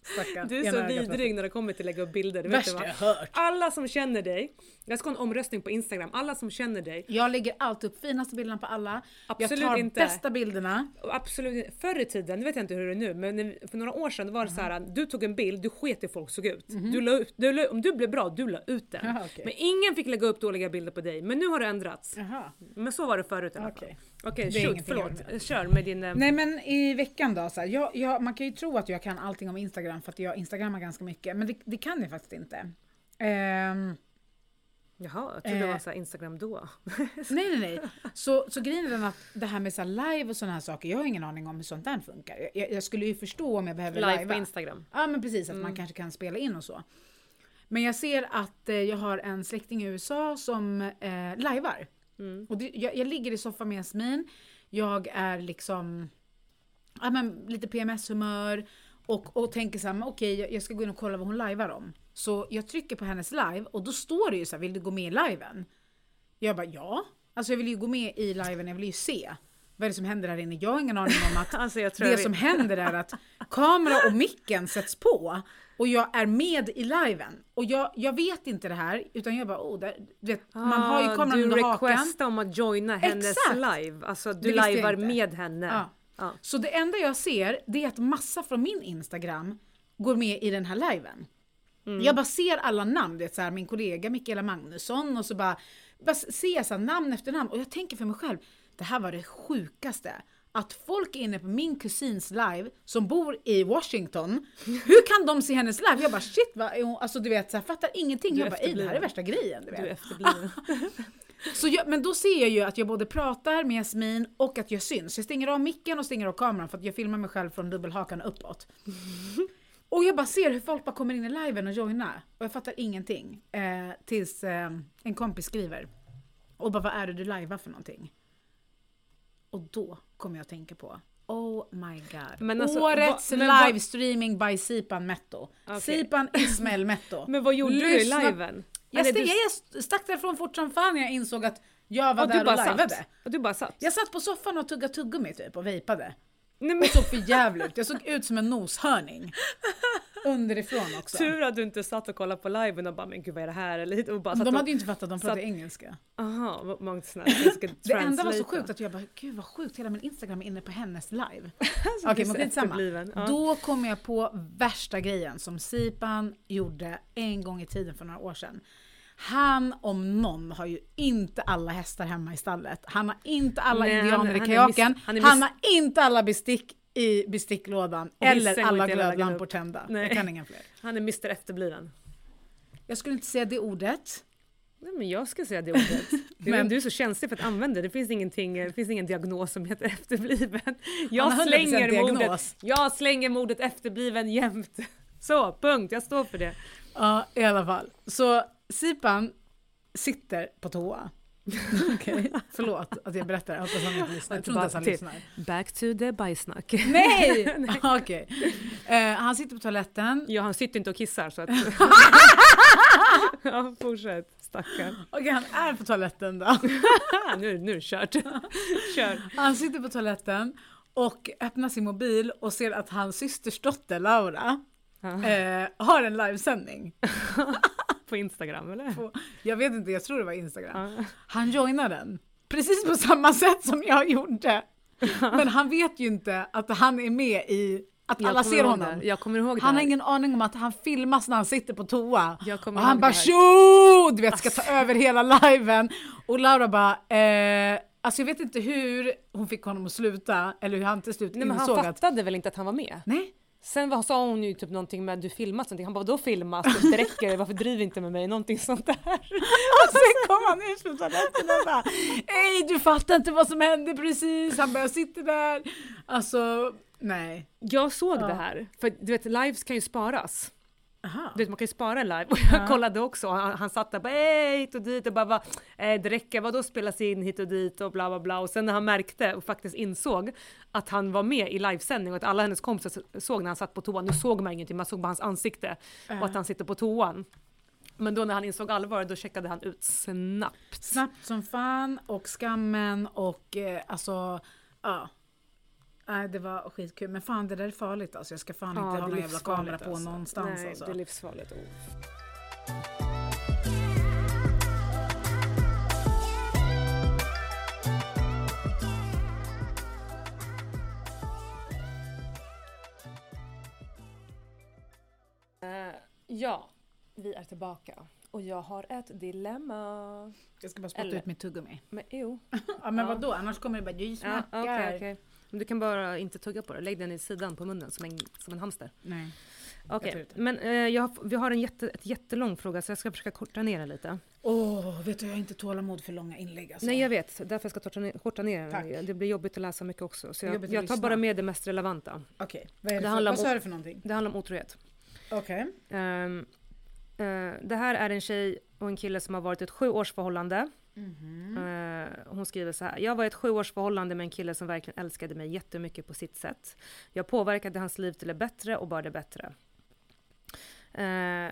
B: Stackarn.
A: Du är
B: Ena
A: så
B: ögat var-
A: vidrig när det kommer till att lägga upp bilder. Det vet du
B: Värsta
A: va?
B: jag hört.
A: Alla som känner dig, jag ska ha en omröstning på Instagram, alla som känner dig,
B: Jag lägger alltid upp finaste bilderna på alla.
A: Absolut
B: jag tar
A: inte.
B: bästa bilderna.
A: och absolut, förr i tiden, nu vet jag inte hur det är nu, men när- för några år sedan då var det så här,
B: Mm.
A: du tog en bild, du sket hur folk såg ut. Du la ut du la, om du blev bra, du la ut den.
B: Mm-hmm. Jaha, okej.
A: Men ingen fick lägga upp dåliga bilder på dig, men nu har det ändrats.
B: Jaha,
A: Men så var det förut i alla fall.
B: okej.
A: Okej,
B: Det är
A: shoot,
B: ingenting jag
A: förlåt. Kör med din... eh,
B: Nej men i veckan då, så här, jag, jag, man kan ju tro att jag kan allting om Instagram för att jag instagrammar ganska mycket, men det, det kan jag faktiskt inte. Ehm,
A: Jaha, jag trodde det
B: Eh.
A: var så här Instagram då.
B: nej nej nej. Så, så grejen är den att det här med så här live och sådana här saker, jag har ingen aning om hur sånt där funkar. Jag- Jag, jag skulle ju förstå om jag behöver
A: Live på
B: livea.
A: Instagram.
B: Ja men precis, att man kanske kan spela in och så. Men jag ser att eh, jag har en släkting i USA som eh, lajvar. Och det, jag, jag ligger i soffan med Jasmin, jag är liksom ja, men lite PMS-humör Och, och tänker så här, men okej jag- jag ska gå in och kolla vad hon lajvar om. Så jag trycker på hennes live och då står det ju så här, vill du gå med i liven? Jag bara ja, alltså jag vill ju gå med i liven, jag vill ju se. Vad är det som händer här inne? Jag har ingen aning om att
C: Alltså jag tror
B: det
C: jag
B: som händer är att kamera och micken sätts på och jag är med i liven. Och jag, jag vet inte det här utan jag bara, oh, där, du vet, man har ju
C: Ah,
B: kameran
C: du
B: under hakan.
C: requestar om att joina hennes
B: Exakt.
C: live. Alltså du
B: Det visste jag
C: livear
B: inte.
C: med henne.
B: Ja.
C: Ja.
B: Så det enda jag ser det är att massa från min Instagram går med i den här liven.
C: Mm.
B: Jag bara ser alla namn, det är så här, min kollega Mikaela Magnusson och så bara, bara ser jag så här, namn efter namn och jag tänker för mig själv, det här var det sjukaste. Att folk är inne på min kusins live som bor i Washington, hur kan de se hennes live? Jag bara shit, vad är hon? Alltså du vet, så här, fattar ingenting.
C: Du är
B: jag bara, "Ey, det här är
C: efterbliven.
B: värsta grejen. Du
C: Du
B: vet.
C: är efterbliven.
B: Så jag, men då ser jag ju att jag både pratar med Jasmin och att jag syns. Jag stänger av micken och stänger av kameran för att jag filmar mig själv från
A: [laughs]
B: dubbelhakan uppåt. Och jag bara ser hur folk bara kommer in i liven och joinar. Och jag fattar ingenting. Eh, tills eh, en kompis skriver. Och bara vad är det du lajvar för någonting? Och då kommer jag att tänka på Oh my god.
A: Men alltså,
B: Årets
A: vad- men vad-
B: livestreaming by Sipan Metto.
A: Okej.
B: Sipan Ismail Metto.
A: [laughs] [laughs] Men vad gjorde
B: Lyssna-
A: du i liven?
B: Jag,
A: Eller
B: st-
A: du-
B: jag st- stack därifrån fort som fan när jag insåg att jag var
A: Ja,
B: där
A: du
B: och
A: bara
B: lajvade.
A: satt. Ja, Du bara satt.
B: Jag satt på soffan och tuggade tuggummi typ och vejpade.
A: Nej, men,
B: Och såg för jävligt ut. Jag såg ut som
A: [laughs]
B: en noshörning. Underifrån också.
A: tur att du inte satt och kollade på liven och bara men gud vad är det här? Eller, och bara satt
B: De
A: och,
B: hade ju inte fattat att de pratade
A: satt-
B: engelska.
A: Aha, vad många sådana här svenska
B: [laughs] Det enda var så
A: translate.
B: sjukt att jag bara, gud vad sjukt, hela min Instagram är inne på hennes live.
A: [laughs] Alltså,
B: Okej,
A: du är
B: men
A: så
B: skitsamma.
A: efterbliven. Ja.
B: Då kom jag på värsta grejen som Sipan gjorde en gång i tiden för några år sedan. Han om någon har ju inte alla hästar hemma i stallet. Han har inte alla
A: Nej, han-
B: indianer
A: han
B: i
A: är
B: kajaken.
A: miss- han
B: Han,
A: är miss-
B: har inte alla bestick i besticklådan.
A: Och hissen
B: eller
A: går
B: alla
A: inte hela vägen
B: glödlampor
A: upp.
B: tända.
A: Nej.
B: Jag kan inga fler.
A: Han är Mr Efterbliven.
B: Jag skulle inte säga det ordet.
A: Nej men jag ska säga det ordet.
B: [laughs]
A: Du,
B: Men-
A: men... du är så känslig för att använda det. Det finns, ingenting, eh, det finns ingen diagnos som heter [laughs] efterbliven.
B: Han har
A: Jag
B: 100%
A: slänger,
B: diagnos.
A: mordet, jag slänger mordet efterbliven jämt. Så, punkt. Jag står för det.
B: Ja, i alla fall. Så Sipan sitter på [laughs] toa. Okej, Förlåt att jag berättar. Jag hoppas han inte lyssnar. Jag tror inte ens han
A: Till-
B: lyssnar.
A: Back to the bajsnack. [laughs]
B: [laughs] Nej! Okej. Eh, han sitter på toaletten.
A: Ja, han sitter inte och kissar så att... ja, fortsätt. Stackarn.
B: Okej, han är på toaletten [laughs] då.
A: Ah, nu, nu är det kört. Kör.
B: Han sitter på toaletten och öppnar sin mobil och ser att hans systersdotter Laura
A: Ja.
B: eh, har en livesändning.
A: På Instagram eller?
B: På- Jag vet inte, jag tror det var Instagram.
A: Ja.
B: Han joinar den. Precis på samma sätt som jag gjorde. Men han vet ju inte att han är med i att
A: Jag
B: alla
A: kommer
B: ser
A: ihåg det.
B: honom.
A: Jag kommer ihåg
B: Han
A: det.
B: har
A: här.
B: ingen aning om att han filmas när han sitter på toa.
A: Jag kommer
B: och han
A: ihåg
B: bara
A: det här. Alltså.
B: tjo! Du vet, ska ta över hela liven. Och Laura bara, eh, alltså jag vet inte hur hon fick honom att sluta, eller hur han till slut
A: Nej, men han
B: insåg att,
A: fattade väl inte att han var med? [laughs]
B: nej,
A: Sen var, sa hon ju typ någonting med att du filmat någonting. Han bara då filmas det Det räcker det, varför driver inte med mig? Någonting sånt där. Alltså.
B: Och sen kom han ut från toaletten och bara Ej du fattar inte vad som hände precis, han bara jag sitter där. Alltså, nej.
A: Jag såg
B: Ja.
A: det här, för du vet lives kan ju sparas.
B: Aha.
A: Du vet man kan ju spara live och jag kollade också och han, han satt där bara "Ey, hit och dit och bara va, eh, det räcker, vadå spelas in hit och dit och bla bla bla och sen när han märkte och faktiskt insåg att han var med i livesändning och att alla hennes kompisar s- såg när han satt på toan, nu såg man ingenting, man såg bara hans ansikte och att han sitter på toan. Men då när han insåg allvar då checkade han ut snabbt.
B: Snabbt som fan och skammen och eh, alltså, ja. Nej det var skitkul, men fan det där är farligt alltså. Jag ska fan
A: Ja,
B: inte
A: det
B: ha
A: är
B: någon jävla
A: livsfarligt
B: kamera på
A: alltså.
B: någonstans
A: Nej,
B: alltså.
A: det är livsfarligt. Oh. Eh, ja, vi är tillbaka. Och jag har ett dilemma.
B: Jag ska bara spotta
A: Eller-
B: ut mitt tuggummi.
A: Men jo.
B: Ja men
A: Ja.
B: vadå, annars kommer det bara du
A: Ja,
B: snackar.
A: okay, okay. Men du kan bara inte tugga på det. Lägg den i sidan på munnen som en, som en hamster.
B: Nej.
A: Okej,
B: tar ut
A: men eh, jag, har- vi har en jätte, ett jättelång fråga så jag ska försöka korta ner den lite.
B: Åh, vet du jag har inte tålamod för långa inlägg alltså.
A: Nej jag vet, därför jag ska korta ner, korta ner
B: Tack.
A: den. Det blir jobbigt att läsa mycket också. Så
B: Det är jobbigt
A: jag,
B: att
A: jag tar
B: lyssna.
A: bara med det mest relevanta.
B: Okej, vad, är det
A: Det
B: för-
A: handlar
B: vad
A: om-
B: sa du för någonting?
A: Det handlar om otrohet.
B: Okej.
A: Ehm, eh, det här är en tjej och en kille som har varit i ett sju års förhållande. Eh, Hon skriver så här. Jag var i ett sjuårsförhållande med en kille som verkligen älskade mig jättemycket på sitt sätt. Jag påverkade hans liv till det bättre och bara det bättre. Eh,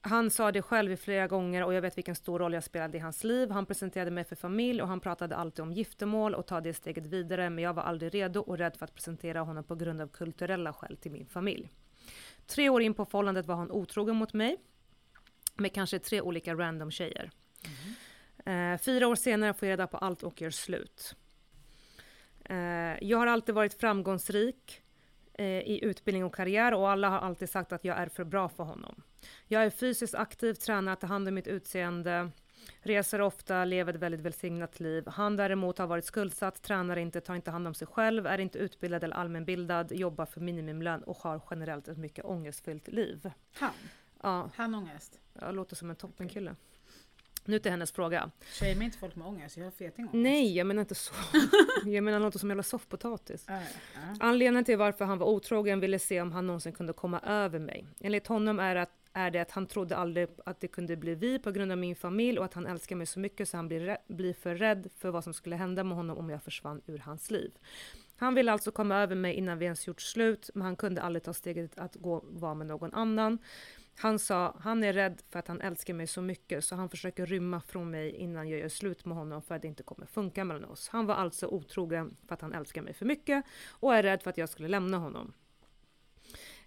A: han sa det själv i flera gånger och jag vet vilken stor roll jag spelade i hans liv. Han presenterade mig för familj och han pratade alltid om giftermål och ta det steget vidare men jag var aldrig redo och rädd för att presentera honom på grund av kulturella skäl till min familj. Tre år in på förhållandet var han otrogen mot mig med kanske tre olika random tjejer.
B: Mm-hmm.
A: Eh, fyra år senare får jag reda på allt och gör slut. Eh, jag har alltid varit framgångsrik eh, i utbildning och karriär och alla har alltid sagt att jag är för bra för honom. Jag är fysiskt aktiv, tränar, tar hand om mitt utseende, reser ofta, lever ett väldigt välsignat liv. Han däremot har varit skuldsatt, tränar inte, tar inte hand om sig själv, är inte utbildad eller allmänbildad, jobbar för minimimlön och har generellt ett mycket ångestfyllt liv.
B: Han.
A: Ja,
B: Han ångest.
A: jag låter som en toppenkille. Nu till hennes fråga.
B: Shame inte folk med ångest, jag har feting ångest.
A: Nej, jag menar inte så. Jag menar något som jävla soffpotatis.
B: Ja, ja.
A: Anledningen till varför han var otrogen ville se om han någonsin kunde komma över mig. Enligt honom är, att, är det att han trodde aldrig att det kunde bli vi på grund av min familj och att han älskar mig så mycket så han blir, rä- blir för rädd för vad som skulle hända med honom om jag försvann ur hans liv. Han ville alltså komma över mig innan vi ens gjort slut, men han kunde aldrig ta steget att gå vara med någon annan. Han sa, han är rädd för att han älskar mig så mycket så han försöker rymma från mig innan jag gör slut med honom för att det inte kommer funka mellan oss. Han var alltså otrogen för att han älskar mig för mycket och är rädd för att jag skulle lämna honom.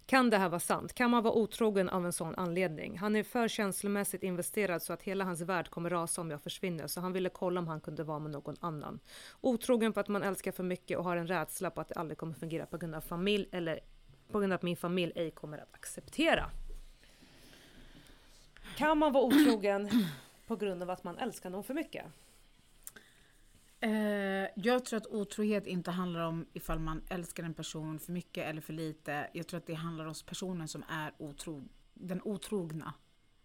A: Kan det här vara sant? Kan man vara otrogen av en sån anledning? Han är för känslomässigt investerad så att hela hans värld kommer rasa om jag försvinner, så han ville kolla om han kunde vara med någon annan. Otrogen för att man älskar för mycket och har en rädsla på att det aldrig kommer fungera på grund av familj eller på grund av att min familj ej kommer att acceptera. Kan man vara otrogen [clears throat] på grund av att man älskar någon för mycket?
B: Eh, jag tror att otrohet inte handlar om ifall man älskar en person för mycket eller för lite. Jag tror att det handlar om personen som är otrog, den otrogna.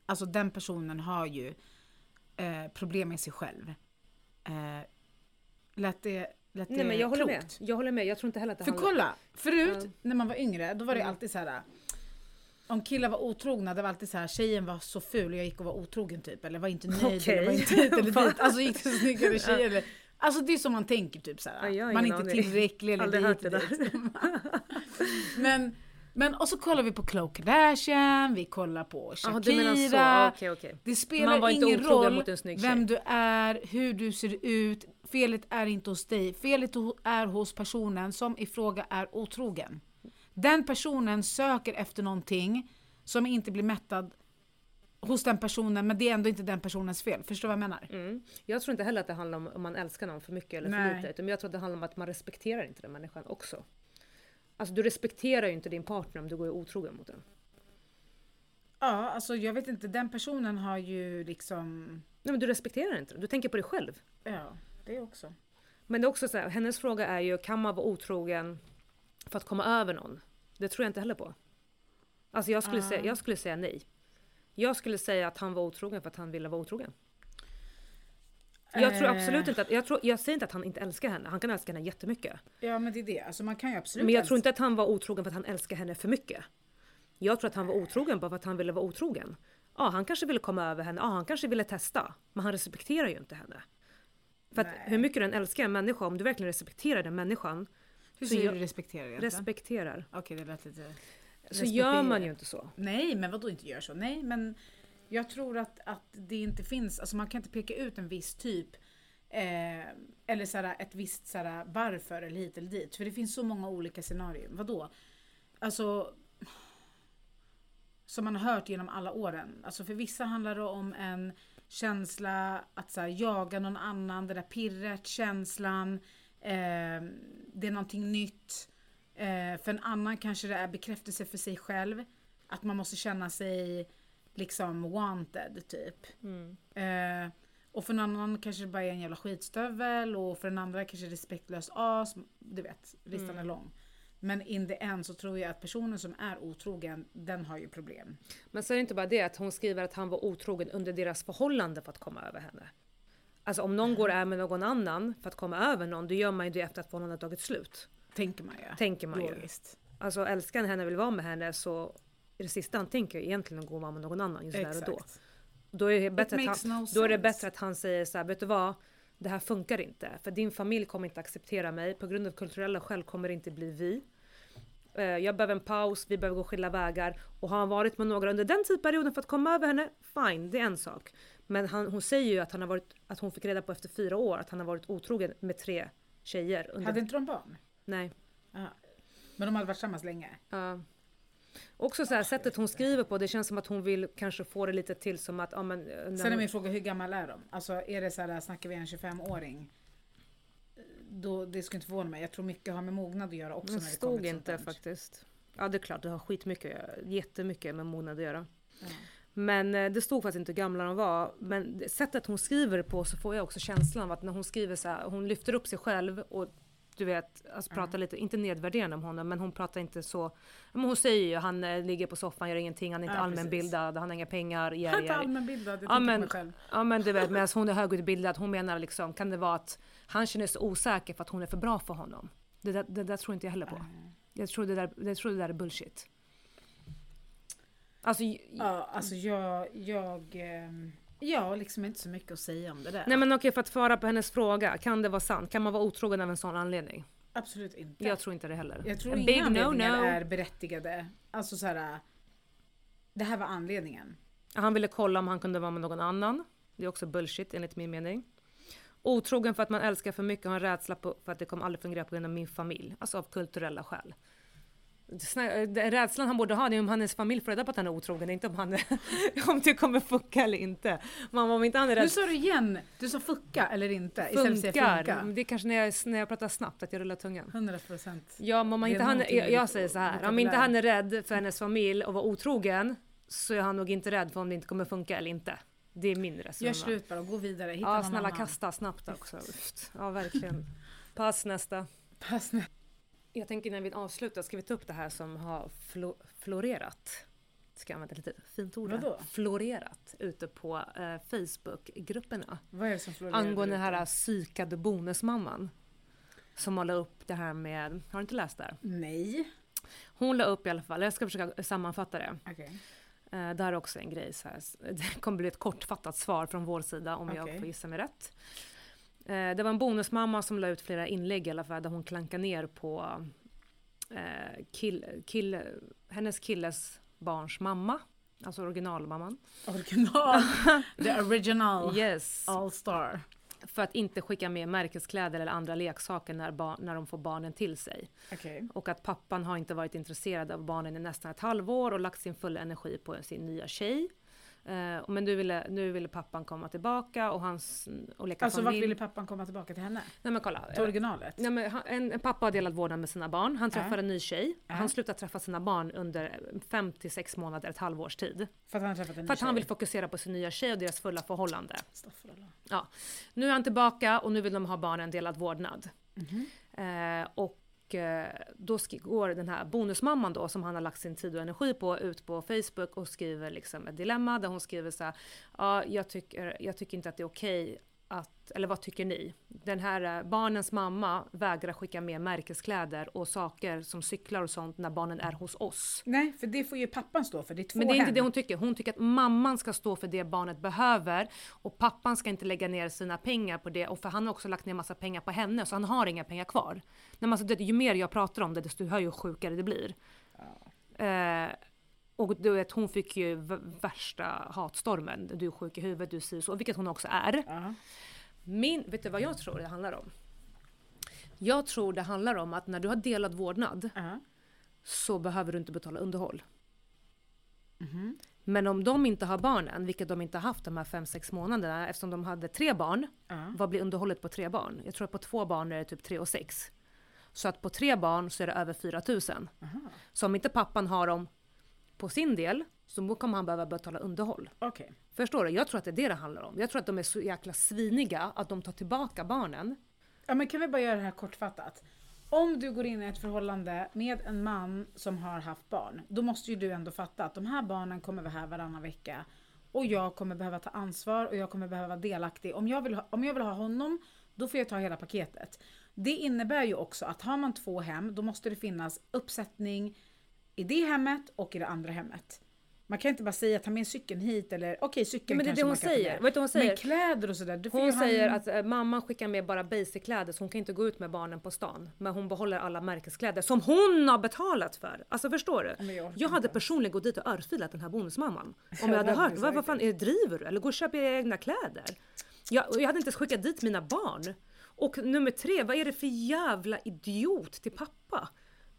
B: Alltså den personen har ju eh, problem med sig själv. Eh, lät det, lät det
A: Nej men jag håller
B: klokt?
A: med. Jag håller med. Jag tror inte heller att det
B: För
A: handlar...
B: kolla, förut
A: Ja.
B: när man var yngre, då var det
A: Mm.
B: alltid så här. Om killar var otrogna, det var alltid så här, tjejen var så ful och jag gick och var otrogen typ. Eller var inte nöjd eller
A: Okej. [laughs]
B: var inte hit eller
A: Va?
B: dit. Alltså gick till snyggare tjejer. eller- Alltså det är som man tänker typ så här.
A: Ja, jag har
B: man är
A: ingen
B: inte
A: aning.
B: tillräcklig eller
A: Aldrig
B: det
A: hört
B: gick
A: det där.
B: dit. Men, men och så kollar vi på Khloe Kardashian, vi kollar på
A: Jaha,
B: Shakira.
A: du menar så? Ja, Okej, okej.
B: Det
A: Man
B: spelar
A: var inte
B: ingen
A: otrogen
B: roll
A: mot en snygg tjej.
B: vem du är, hur du ser ut. Felet är inte hos dig. Felet ho- är hos personen som i fråga är otrogen. Den personen söker efter någonting som inte blir mättad hos den personen, men det är ändå inte den personens fel. Förstår du vad jag menar?
A: Mm. Jag tror inte heller att det handlar om om man älskar någon för mycket eller för
B: Nej.
A: lite. Utan jag tror att det handlar om att man respekterar inte den människan också. Alltså du respekterar ju inte din partner om du går otrogen mot den.
B: Ja, alltså jag vet inte. Den personen har ju liksom...
A: Nej men du respekterar inte den. Du tänker på dig själv.
B: Ja, det också.
A: Men det är också så här, hennes fråga är ju kan man vara otrogen för att komma över någon? Det tror jag inte heller på. Alltså jag skulle,
B: Ah.
A: säga, jag skulle säga nej. Jag skulle säga att han var otrogen för att han ville vara otrogen. Jag tror
B: Eh.
A: absolut inte att, jag, tror, jag säger inte att han inte älskar henne, han kan älska henne jättemycket.
B: Ja, men det är det. Alltså man kan ju absolut...
A: Men jag tror inte
B: älska-
A: att han var otrogen för att han älskar henne för mycket. Jag tror att han var otrogen bara för att han ville vara otrogen. Ja, han kanske ville komma över henne, ja, han kanske ville testa. Men han respekterar ju inte henne. För att
B: Nej.
A: hur mycket du än älskar en människa, om du verkligen respekterar den människan,
B: Hur
A: så
B: säger
A: jag-
B: du respektera egentligen?
A: respekterar,
B: Okej, det lät lite...
A: så gör man
B: Respektera.
A: ju inte så.
B: Nej, men vadå inte gör så? Nej, men jag tror att, att det inte finns, alltså man kan inte peka ut en viss typ eh, eller såhär, ett visst såhär, varför eller hit eller dit. För det finns så många olika scenarier. Vadå? Alltså som man har hört genom alla åren. Alltså för vissa handlar det om en känsla att så här, jaga någon annan, det där pirret, känslan, eh, det är någonting nytt. Eh, för en annan kanske det är bekräftelse för sig själv, att man måste känna sig liksom wanted typ.
A: Mm.
B: Eh, och för en annan kanske det bara är en jävla skitstövel och för den andra kanske respektlös as. Du vet, listan
A: Mm.
B: är lång. Men in the end så tror jag att personen som är otrogen, den har ju problem.
A: Men så är det inte bara det att hon skriver att han var otrogen under deras förhållande för att komma över henne. Alltså om någon går och är med någon annan för att komma över någon, då gör man ju det efter att förhållandet har tagit slut.
B: Tänker man ju.
A: Tänker man ju.
B: Logiskt.
A: alltså älskar han henne och vill vara med henne så är det sista han tänker egentligen att gå och vara med någon annan just där och då. Då är det bättre, att han,
B: makes no
A: då är det
B: sense.
A: bättre att han säger så här, vet du vad? Det här funkar inte. För din familj kommer inte acceptera mig. På grund av kulturella skäl kommer det inte bli vi. Eh, Jag behöver en paus, vi behöver gå skilda vägar. Och har han varit med några under den tidsperioden för att komma över henne, fine, det är en sak. Men han, hon säger ju att, han har varit, att hon fick reda på efter fyra år att han har varit otrogen med tre tjejer. Under,
B: Hade inte de barn?
A: Nej.
B: Ja. Men de hade varit tillsammans länge?
A: Ja. Också så här, sättet hon skriver på, det känns som att hon vill kanske få det lite till som att... Ja, men, eh, när
B: Sen är
A: hon-
B: min fråga, hur gammal är de? Alltså är det så här, snackar vi en 25-åring? Då, det skulle inte förvåna mig. Jag tror mycket har med mognad att göra också.
A: Det
B: när det
A: stod
B: kommer till
A: inte
B: sånt där.
A: faktiskt. Ja det är klart, det har skitmycket, att göra. jättemycket med mognad att göra.
B: Ja.
A: Men eh, det stod faktiskt inte hur gamla de var. Men det- sättet hon skriver på så får jag också känslan av att när hon skriver så här, hon lyfter upp sig själv och du vet, alltså pratar lite, inte nedvärderande om honom men hon pratar inte så, men hon säger ju han eh, ligger på soffan, gör ingenting, han är inte
B: Ja, precis.
A: allmänbildad, han har inga pengar,
B: Jag är
A: yeah,
B: inte
A: yeah.
B: allmänbildad, jag
A: Ja,
B: tänker på
A: men-
B: mig själv.
A: Ja men du vet, medan hon är högutbildad, hon menar liksom, kan det vara att han känner sig osäker för att hon är för bra för honom? Det där, det där tror inte jag heller på. Jag tror det där, jag tror det där är bullshit. Alltså, j-
B: Ja, alltså jag, jag, ehm, jag har liksom inte så mycket att säga om det där.
A: nej men okej för att svara på hennes fråga, kan det vara sant? Kan man vara otrogen av en sån anledning?
B: Absolut inte.
A: Jag tror inte det heller.
B: Jag tror
A: A
B: inga
A: big
B: anledningar
A: no-no.
B: är berättigade. Alltså så här. Det här var anledningen.
A: Han ville kolla om han kunde vara med någon annan. Det är också bullshit enligt min mening. Otrogen för att man älskar för mycket och har en rädsla på, för att det kommer aldrig fungera på grund av min familj. Alltså av kulturella skäl. Snä- Den rädslan han borde ha det är om hennes familj får reda på att han är otrogen, inte om, han [laughs] om det kommer funka eller inte. Man, om inte han är
B: Nu
A: rädd
B: sa du igen, du sa fucka eller inte istället för att säga
A: funkar.
B: funka.
A: Det är kanske när jag, när jag pratar snabbt att jag rullar tungan.
B: 100 procent.
A: Ja, men om
B: Det är
A: inte han,
B: någonting
A: jag,
B: med
A: jag
B: ditt
A: säger så här, om
B: vokabulär.
A: inte han är rädd för hennes familj och vara otrogen så är han nog inte rädd för om det inte kommer funka eller inte. Det är min
B: Gör
A: resonemang.
B: slut bara och gå vidare. Hitta
A: Ja,
B: någon
A: snälla
B: annan. [laughs]
A: kasta snabbt också. Uft. Ja, verkligen. Pass nästa.
B: Pass nu.
A: Jag tänker när vi avslutar ska vi ta upp det här som har flo- florerat. Ska jag använda ett lite fint ord? här?
B: Vadå?
A: Florerat ute på eh, Facebookgrupperna.
B: Vad är det som florerar?
A: Angående den
B: där
A: här alltså.
B: ute?
A: psykade bonusmamman. Som har la upp det här med, har du inte läst det? här?
B: Nej.
A: Hon la upp i alla fall, jag ska försöka sammanfatta det.
B: Okej.
A: Eh, det här är också en grej, så här. [laughs] det kommer bli ett kortfattat svar från vår sida om jag
B: Okej.
A: får gissa mig rätt. Eh, det var en bonusmamma som la ut flera inlägg i alla fall där hon klankar ner på eh, kill, kill, hennes killes barns mamma, alltså originalmamman. [laughs]
B: Original. The original.
A: Yes.
B: All star.
A: För att inte skicka med märkeskläder eller andra leksaker när, bar- när de får barnen till sig.
B: Okej.
A: Och att pappan har inte varit intresserad av barnen i nästan ett halvår och lagt sin fulla energi på sin nya tjej. Eh, men nu ville, nu ville pappan komma tillbaka och, hans, och leka
B: Alltså vart
A: familj.
B: ville pappan komma tillbaka till henne?
A: Nej men kolla. Eh,
B: Till originalet?
A: Nej, men han, en, en pappa har delat vårdnad med sina barn. Han träffar
B: Ja.
A: en ny tjej.
B: Ja.
A: Han slutar träffa sina barn under fem till sex månader, ett halvårs tid.
B: För att han har träffat en ny
A: För att han
B: tjej?
A: vill fokusera på sin nya tjej och deras fulla förhållande.
B: Staffrallah.
A: Ja. Nu är han tillbaka och nu vill de ha barnen delad vårdnad. Eh, och eh, då sk- går den här bonusmamman då som han har lagt sin tid och energi på ut på Facebook och skriver liksom ett dilemma där hon skriver så här. Ja, jag tycker, jag tycker inte att det är okej att, eller vad tycker ni? Den här eh, barnens mamma vägrar skicka med märkeskläder och saker som cyklar och sånt när barnen är hos oss.
B: Nej, för det får ju pappan stå för. Det är två
A: Men det är inte
B: hem.
A: det hon tycker. Hon tycker att mamman ska stå för det barnet behöver och pappan ska inte lägga ner sina pengar på det. Och för han har också lagt ner massa pengar på henne så han har inga pengar kvar. Nej, men alltså, det, ju mer jag pratar om det desto hör ju sjukare det blir. Eh, och du vet, hon fick ju v- värsta hatstormen. Du är sjuk i huvudet, du säger så. Vilket hon också är.
B: Ja.
A: Min, vet du vad jag tror det handlar om? Jag tror det handlar om att när du har delad vårdnad
B: Ja.
A: så behöver du inte betala underhåll. Men om de inte har barnen, vilket de inte har haft de här 5-6 månaderna eftersom de hade tre barn,
B: Ja.
A: vad blir underhållet på tre barn? Jag tror att på två barn är det typ 3 och 6. Så att på tre barn så är det över 4 000. Så om inte pappan har dem på sin del så kommer han behöva betala underhåll.
B: Okej.
A: Förstår du? Jag tror att det är det det handlar om. Jag tror att de är så jäkla sviniga att de tar tillbaka barnen.
B: Ja men kan vi bara göra det här kortfattat? Om du går in i ett förhållande med en man som har haft barn, då måste ju du ändå fatta att de här barnen kommer vara här varannan vecka och jag kommer behöva ta ansvar och jag kommer behöva vara delaktig. Om jag vill ha, om jag vill ha honom, då får jag ta hela paketet. Det innebär ju också att har man två hem, då måste det finnas uppsättning i det hemmet och i det andra hemmet. Man kan inte bara säga ta med cykeln hit eller okej
A: Ja,
B: cykeln
A: men det är det
B: kanske
A: hon
B: man kan ta
A: säger.
B: med.
A: Vet du vad hon säger?
B: Men kläder och sådär. du Mm. får ju
A: Hon
B: ha en-
A: säger att eh, mamman skickar med bara basic-kläder så hon kan inte gå ut med barnen på stan. Men hon behåller alla märkeskläder som hon har betalat för. Alltså förstår du?
B: men jag
A: Jag,
B: orkar
A: hade
B: inte.
A: personligen gått dit och örfilat den här bonusmamman. Om
B: det
A: jag hade
B: hade
A: hört,
B: du
A: vad,
B: säkert.
A: vad fan är, driver du? Eller gå och köp era egna kläder. Jag, och jag hade inte ens skickat dit mina barn. Och nummer tre, vad är det för jävla idiot till pappa?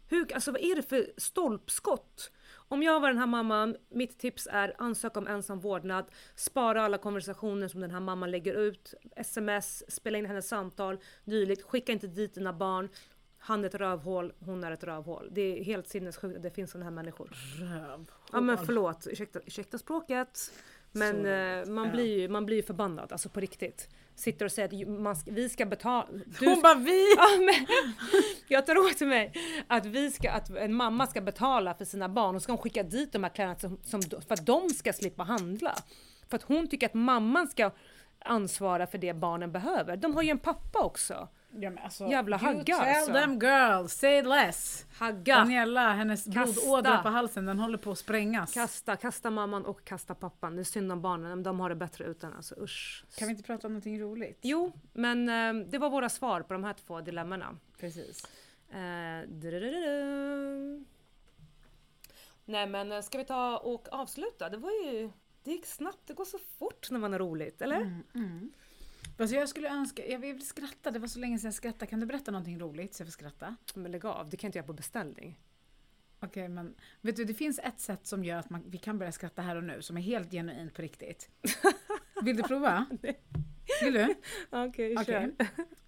A: Hur, alltså vad är det för stolpskott? Om jag var den här mamman, mitt tips är ansök om ensam vårdnad, spara alla konversationer som den här mamman lägger ut, sms, spela in hennes samtal, dylikt, skicka inte dit dina barn. Han är ett rövhål, hon är ett rövhål. Det är helt sinnessjukt att det finns sådana här människor.
B: Röv.
A: Ja men förlåt, ursäkta, ursäkta språket. Men
B: Så
A: eh, man,
B: ja.
A: blir ju, man blir ju förbannad, alltså på riktigt. Sitter och säger att ju- man, ska- vi ska betala... [laughs] Du
B: Hon bara vi!
A: Ja, men, [laughs] jag tar åt mig att, vi ska, att en mamma ska betala för sina barn och ska hon skicka dit de här kläderna som, som, för att de ska slippa handla. För att hon tycker att mamman ska ansvara för det barnen behöver. De har ju en pappa också.
B: Ja, men alltså,
A: Jävla
B: you
A: hagga,
B: tell
A: alltså.
B: them girl, say less!
A: Hagga!
B: Daniela, hennes
A: Kasta.
B: blodådra på halsen, den håller på att sprängas.
A: Kasta, kasta mamman och kasta pappan. Det är synd om barnen, de har det bättre utan alltså usch.
B: Kan vi inte prata om någonting roligt?
A: Jo, men eh, det var våra svar på de här två dilemmorna.
B: Precis.
A: Eh, drurururu. Nej men eh, ska vi ta och avsluta? Det var ju... Det gick snabbt, det går så fort när man har roligt, eller?
B: Mm, mm. Alltså jag skulle önska, jag vill skratta, det var så länge sedan jag skrattade. Kan du berätta någonting roligt så jag får skratta?
A: Men lägg av, det kan jag inte göra på beställning.
B: Okej, men vet du, det finns ett sätt som gör att man, vi kan börja skratta här och nu, som är helt genuint
A: [laughs]
B: på riktigt. Vill du prova? Vill du?
A: Okej,
B: Okej.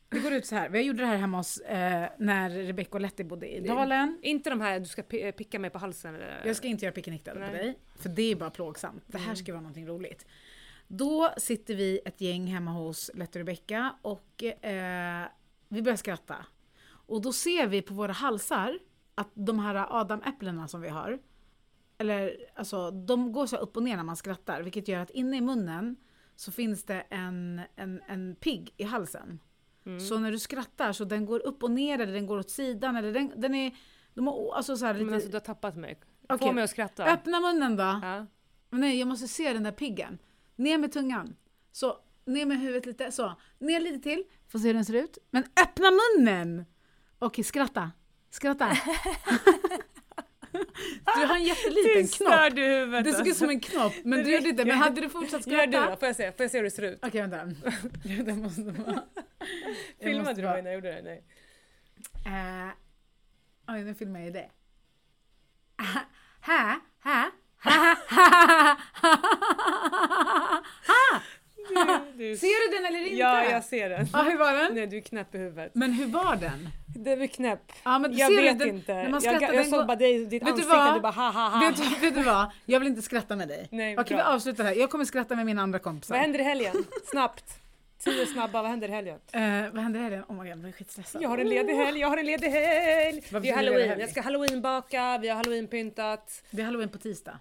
B: Det går ut så här, vi gjorde det här hemma hos, eh, när Rebecca och Letty bodde i Dalen.
A: Inte de här, du ska pi- picka mig på halsen eller?
B: Jag ska inte göra picknickdöd på
A: Nej. Mm.
B: dig, för det är bara plågsamt. Det här ska vara någonting roligt. Då sitter vi ett gäng hemma hos Lette och Rebecka och eh, vi börjar skratta. Och då ser vi på våra halsar att de här adamäpplena som vi har, eller alltså de går så här upp och ner när man skrattar, vilket gör att inne i munnen så finns det en, en, en pigg i halsen.
A: Mm.
B: Så när du skrattar så den går upp och ner eller den går åt sidan eller den, den är, de har, alltså så här
A: Men
B: lite,
A: alltså du har tappat mig. Få
B: Okej.
A: mig att skratta.
B: Öppna munnen då.
A: Ja.
B: Nej, jag måste se den där piggen. Ner med tungan. Så, ner med huvudet lite. Så, ner lite till. Får se hur den ser ut. Men öppna munnen! Okej, skratta. Skratta. [laughs] du har en jätteliten knopp.
A: du huvudet.
B: Det såg ut som en knopp, men du gjorde inte. Men hade du fortsatt
A: Gör du då,
B: skratta?
A: får jag se, får jag se hur det ser ut?
B: Okej, vänta. Det [laughs] måste vara... jag måste
A: Filmade du
B: bara-
A: mig när jag gjorde det? Nej.
B: Eh, oj, nu filmar jag ju det. Ha, ha, ha, ha, ha.
A: Du, du,
B: Ser du den eller inte?
A: Mm. ja, jag ser den.
B: Ja, hur var den?
A: Nej, du är knäpp i huvudet.
B: Men hur var den?
A: Du är knäpp.
B: Ja, men
A: Jag
B: ser
A: vet
B: du den?
A: inte.
B: När man
A: jag
B: skrattar,
A: jag,
B: den
A: såg
B: går-
A: bara dig, ditt
B: Vet du
A: ansikte
B: vad?
A: och du bara ha ha ha.
B: Vet, du- vet du vad? Jag vill inte skratta med dig.
A: Nej,
B: Okej, vi
A: bra.
B: avslutar här. Jag kommer skratta med mina andra kompisar.
A: Vad händer i helgen? Snabbt. Tio snabba, vad händer i helgen?
B: Eh, vad händer i helgen? Oh my god, jag blir skitstressad.
A: Jag har en ledig helg, jag har en ledig helg! Det är
B: Varför ska du leda
A: halloween,
B: helg?
A: jag ska halloweenbaka, vi har halloweenpyntat.
B: Det är halloween på tisdag.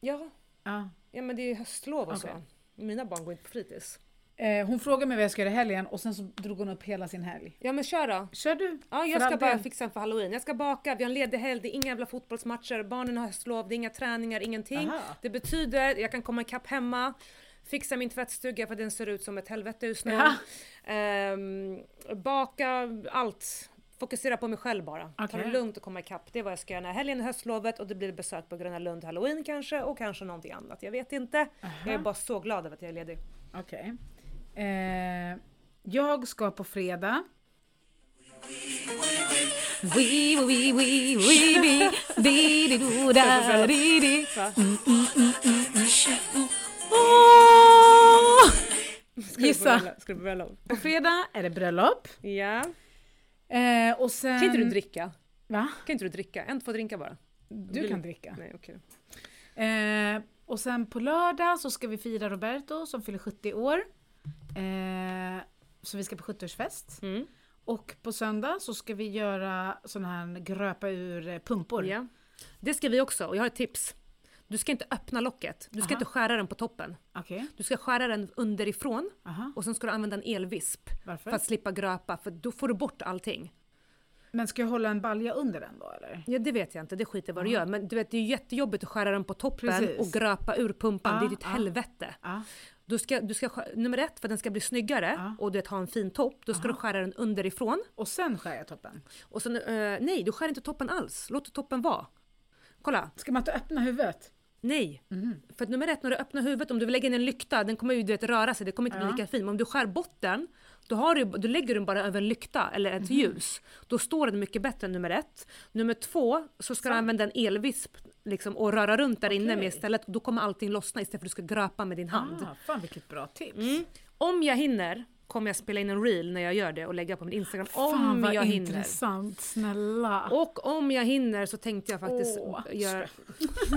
A: Ja,
B: Ja.
A: ja men det är höstlov och
B: Okej.
A: så. Mina barn går inte på fritids.
B: Eh, hon frågade mig vad jag ska göra i helgen och sen så drog hon upp hela sin helg.
A: Ja men kör då.
B: Kör du?
A: Ja, jag
B: För
A: ska
B: all
A: bara
B: del.
A: fixa en för halloween. Jag ska baka, vi har en ledig helg, det är inga jävla fotbollsmatcher, barnen har höstlov, det är inga träningar, ingenting.
B: Aha.
A: Det betyder, jag kan komma ikapp hemma, fixa min tvättstuga för den ser ut som ett helvete just nu.
B: Ja.
A: Ehm, baka, allt. Fokusera på mig själv bara. Ta det
B: Okej.
A: lugnt och komma ikapp. Det är vad jag ska göra den här helgen, höstlovet och det blir besök på Gröna Lund halloween kanske och kanske någonting annat. Jag vet inte. Jag är bara så glad över att jag är ledig.
B: Okej. Eh, jag ska på fredag. Wee, wee, wee, wee, wee, di, di, do, da, di, di. Mm, mm, mm, mm, mm. Åh! Gissa.
A: Ska du börja lov?
B: På fredag är det bröllop.
A: Ja.
B: Eh, och sen...
A: Kan inte du dricka?
B: Va?
A: Kan inte du dricka? En, två drinkar bara.
B: Du kan dricka.
A: Nej okej.
B: Eh, och sen på lördag så ska vi fira Roberto som fyller 70 år. Eh, så vi ska på 70-årsfest.
A: Mm.
B: Och på söndag så ska vi göra sådana här gröpa ur eh, pumpor.
A: Ja. Det ska vi också och jag har ett tips. Du ska inte öppna locket. Du ska
B: Aha.
A: inte skära den på toppen.
B: Okej.
A: Du ska skära den underifrån
B: Aha.
A: och sen ska du använda en elvisp
B: Varför?
A: för att slippa gröpa för då får du bort allting.
B: Men ska jag hålla en balja under den då eller?
A: Ja, det vet jag inte. Det skiter vad du gör. Men du vet, det är ju jättejobbigt att skära den på toppen
B: Precis.
A: och gröpa ur pumpan.
B: Ja,
A: det är ju ett
B: ja.
A: helvete.
B: Ja.
A: Du ska, du ska, skär- nummer ett, för att den ska bli snyggare
B: Ja.
A: och du vet, ha en fin topp, då ska du skära den underifrån.
B: Och sen skär jag toppen.
A: Och sen, eh, nej, du skär inte toppen alls. Låt toppen vara. Kolla,
B: Ska man inte öppna huvudet?
A: nej.
B: Mhm.
A: För att nummer ett, när du öppnar huvudet, om du vill lägga in en lykta, den kommer ju du vet, röra sig, det kommer inte
B: Ja.
A: bli lika fin. Men om du skär botten, då, har du, då lägger du den bara över en lykta eller
B: Mhm.
A: ett ljus. Då står den mycket bättre än nummer ett. Nummer två, så ska du använda en elvisp liksom, och röra runt där inne
B: Okej.
A: med istället. Då kommer allting lossna istället för att du ska gröpa med din hand. Mm.
B: Ah, fan vilket bra tips.
A: Om jag hinner kommer jag spela in en reel när jag gör det och lägga på min Instagram.
B: fan
A: om
B: vad
A: jag hinner.
B: intressant, snälla.
A: Och om jag hinner så tänkte jag faktiskt
B: Åh.
A: göra,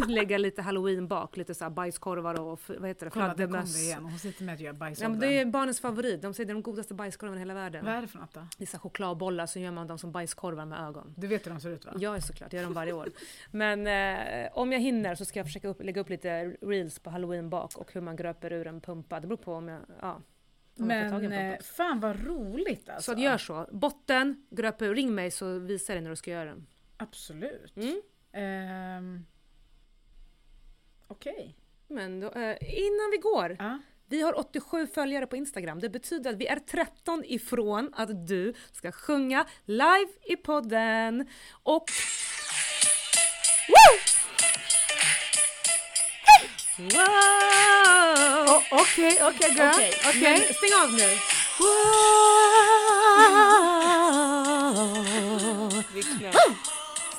A: [laughs] lägga lite halloween bak, lite så här bajskorvar och f- vad heter det,
B: Kolla, där kom
A: fladdermöss.
B: det igen. Hon sitter med att göra bajs
A: Ja,
B: av
A: men det
B: den.
A: är barnens favorit, de säger det är de godaste bajskorvarna i hela världen.
B: Vad är det för något då?
A: Det är så här chokladbollar så gör man dem som bajskorvar med ögon.
B: Du vet hur de ser ut va?
A: Jag är såklart, jag gör dem varje år. Men eh, om jag hinner så ska jag försöka upp, lägga upp lite reels på halloween bak och hur man gröper ur en pumpa. Det beror på om jag, ja, om jag får tag i
B: Men
A: en pumpa.
B: eh, fan vad roligt alltså.
A: Så att gör så. Botten, gröp ur, ring mig så visar jag dig när du ska göra den.
B: Absolut.
A: Mm.
B: Ehm, Okej.
A: Men då, eh, innan vi går.
B: Ja.
A: Vi har 87 följare på Instagram. Det betyder att vi är 13 ifrån att du ska sjunga live i podden. Och... Woo! Wow!
B: Okej, okej girl.
A: Okej, men stäng av nu.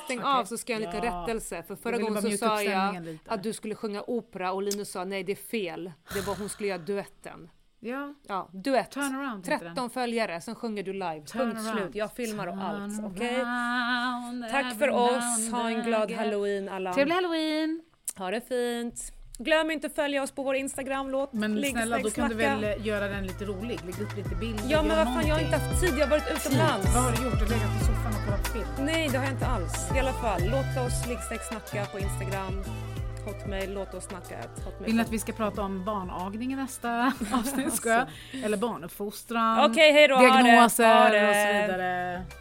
A: Stäng av så ska jag göra en liten
B: Ja.
A: rättelse. För förra
B: ville
A: gången
B: bara
A: så
B: mjuka upp
A: sa jag
B: stämningen lite.
A: att du skulle sjunga opera och Linus sa nej det är fel. Det var hon skulle göra duetten.
B: Ja.
A: Ja, duett.
B: Turnaround heter den.
A: 13 följare, sen sjunger du live. Punkt
B: Turnaround.
A: slut. Jag filmar och allt.
B: Turn
A: Okej?
B: around
A: Tack för
B: every
A: oss.
B: now
A: Ha en
B: and
A: glad
B: again.
A: halloween alla.
B: Trevlig halloween.
A: Ha det fint. Glöm inte att följa oss på vår Instagram. Låt
B: Men
A: ligg,
B: snälla, då
A: snack,
B: kan du
A: snacka.
B: väl eh, göra den lite rolig? Lägga upp lite bilder.
A: Ja men
B: gör
A: vad fan, jag har
B: någonting.
A: inte haft tid. Jag har varit utomlands.
B: Vad har du gjort? Du har legat i soffan och kollat film.
A: Nej, det har jag inte alls. I alla fall, låt oss liggsex snacka på Instagram. Hotmail, låt oss snacka. at hotmail.
B: Vill ni att vi ska prata om barnagning i [laughs] nästa Alltså. avsnitt? Ska jag? Eller barnuppfostran,
A: Okej, hej då, ha det,
B: diagnoser
A: ha
B: och
A: det.
B: så vidare.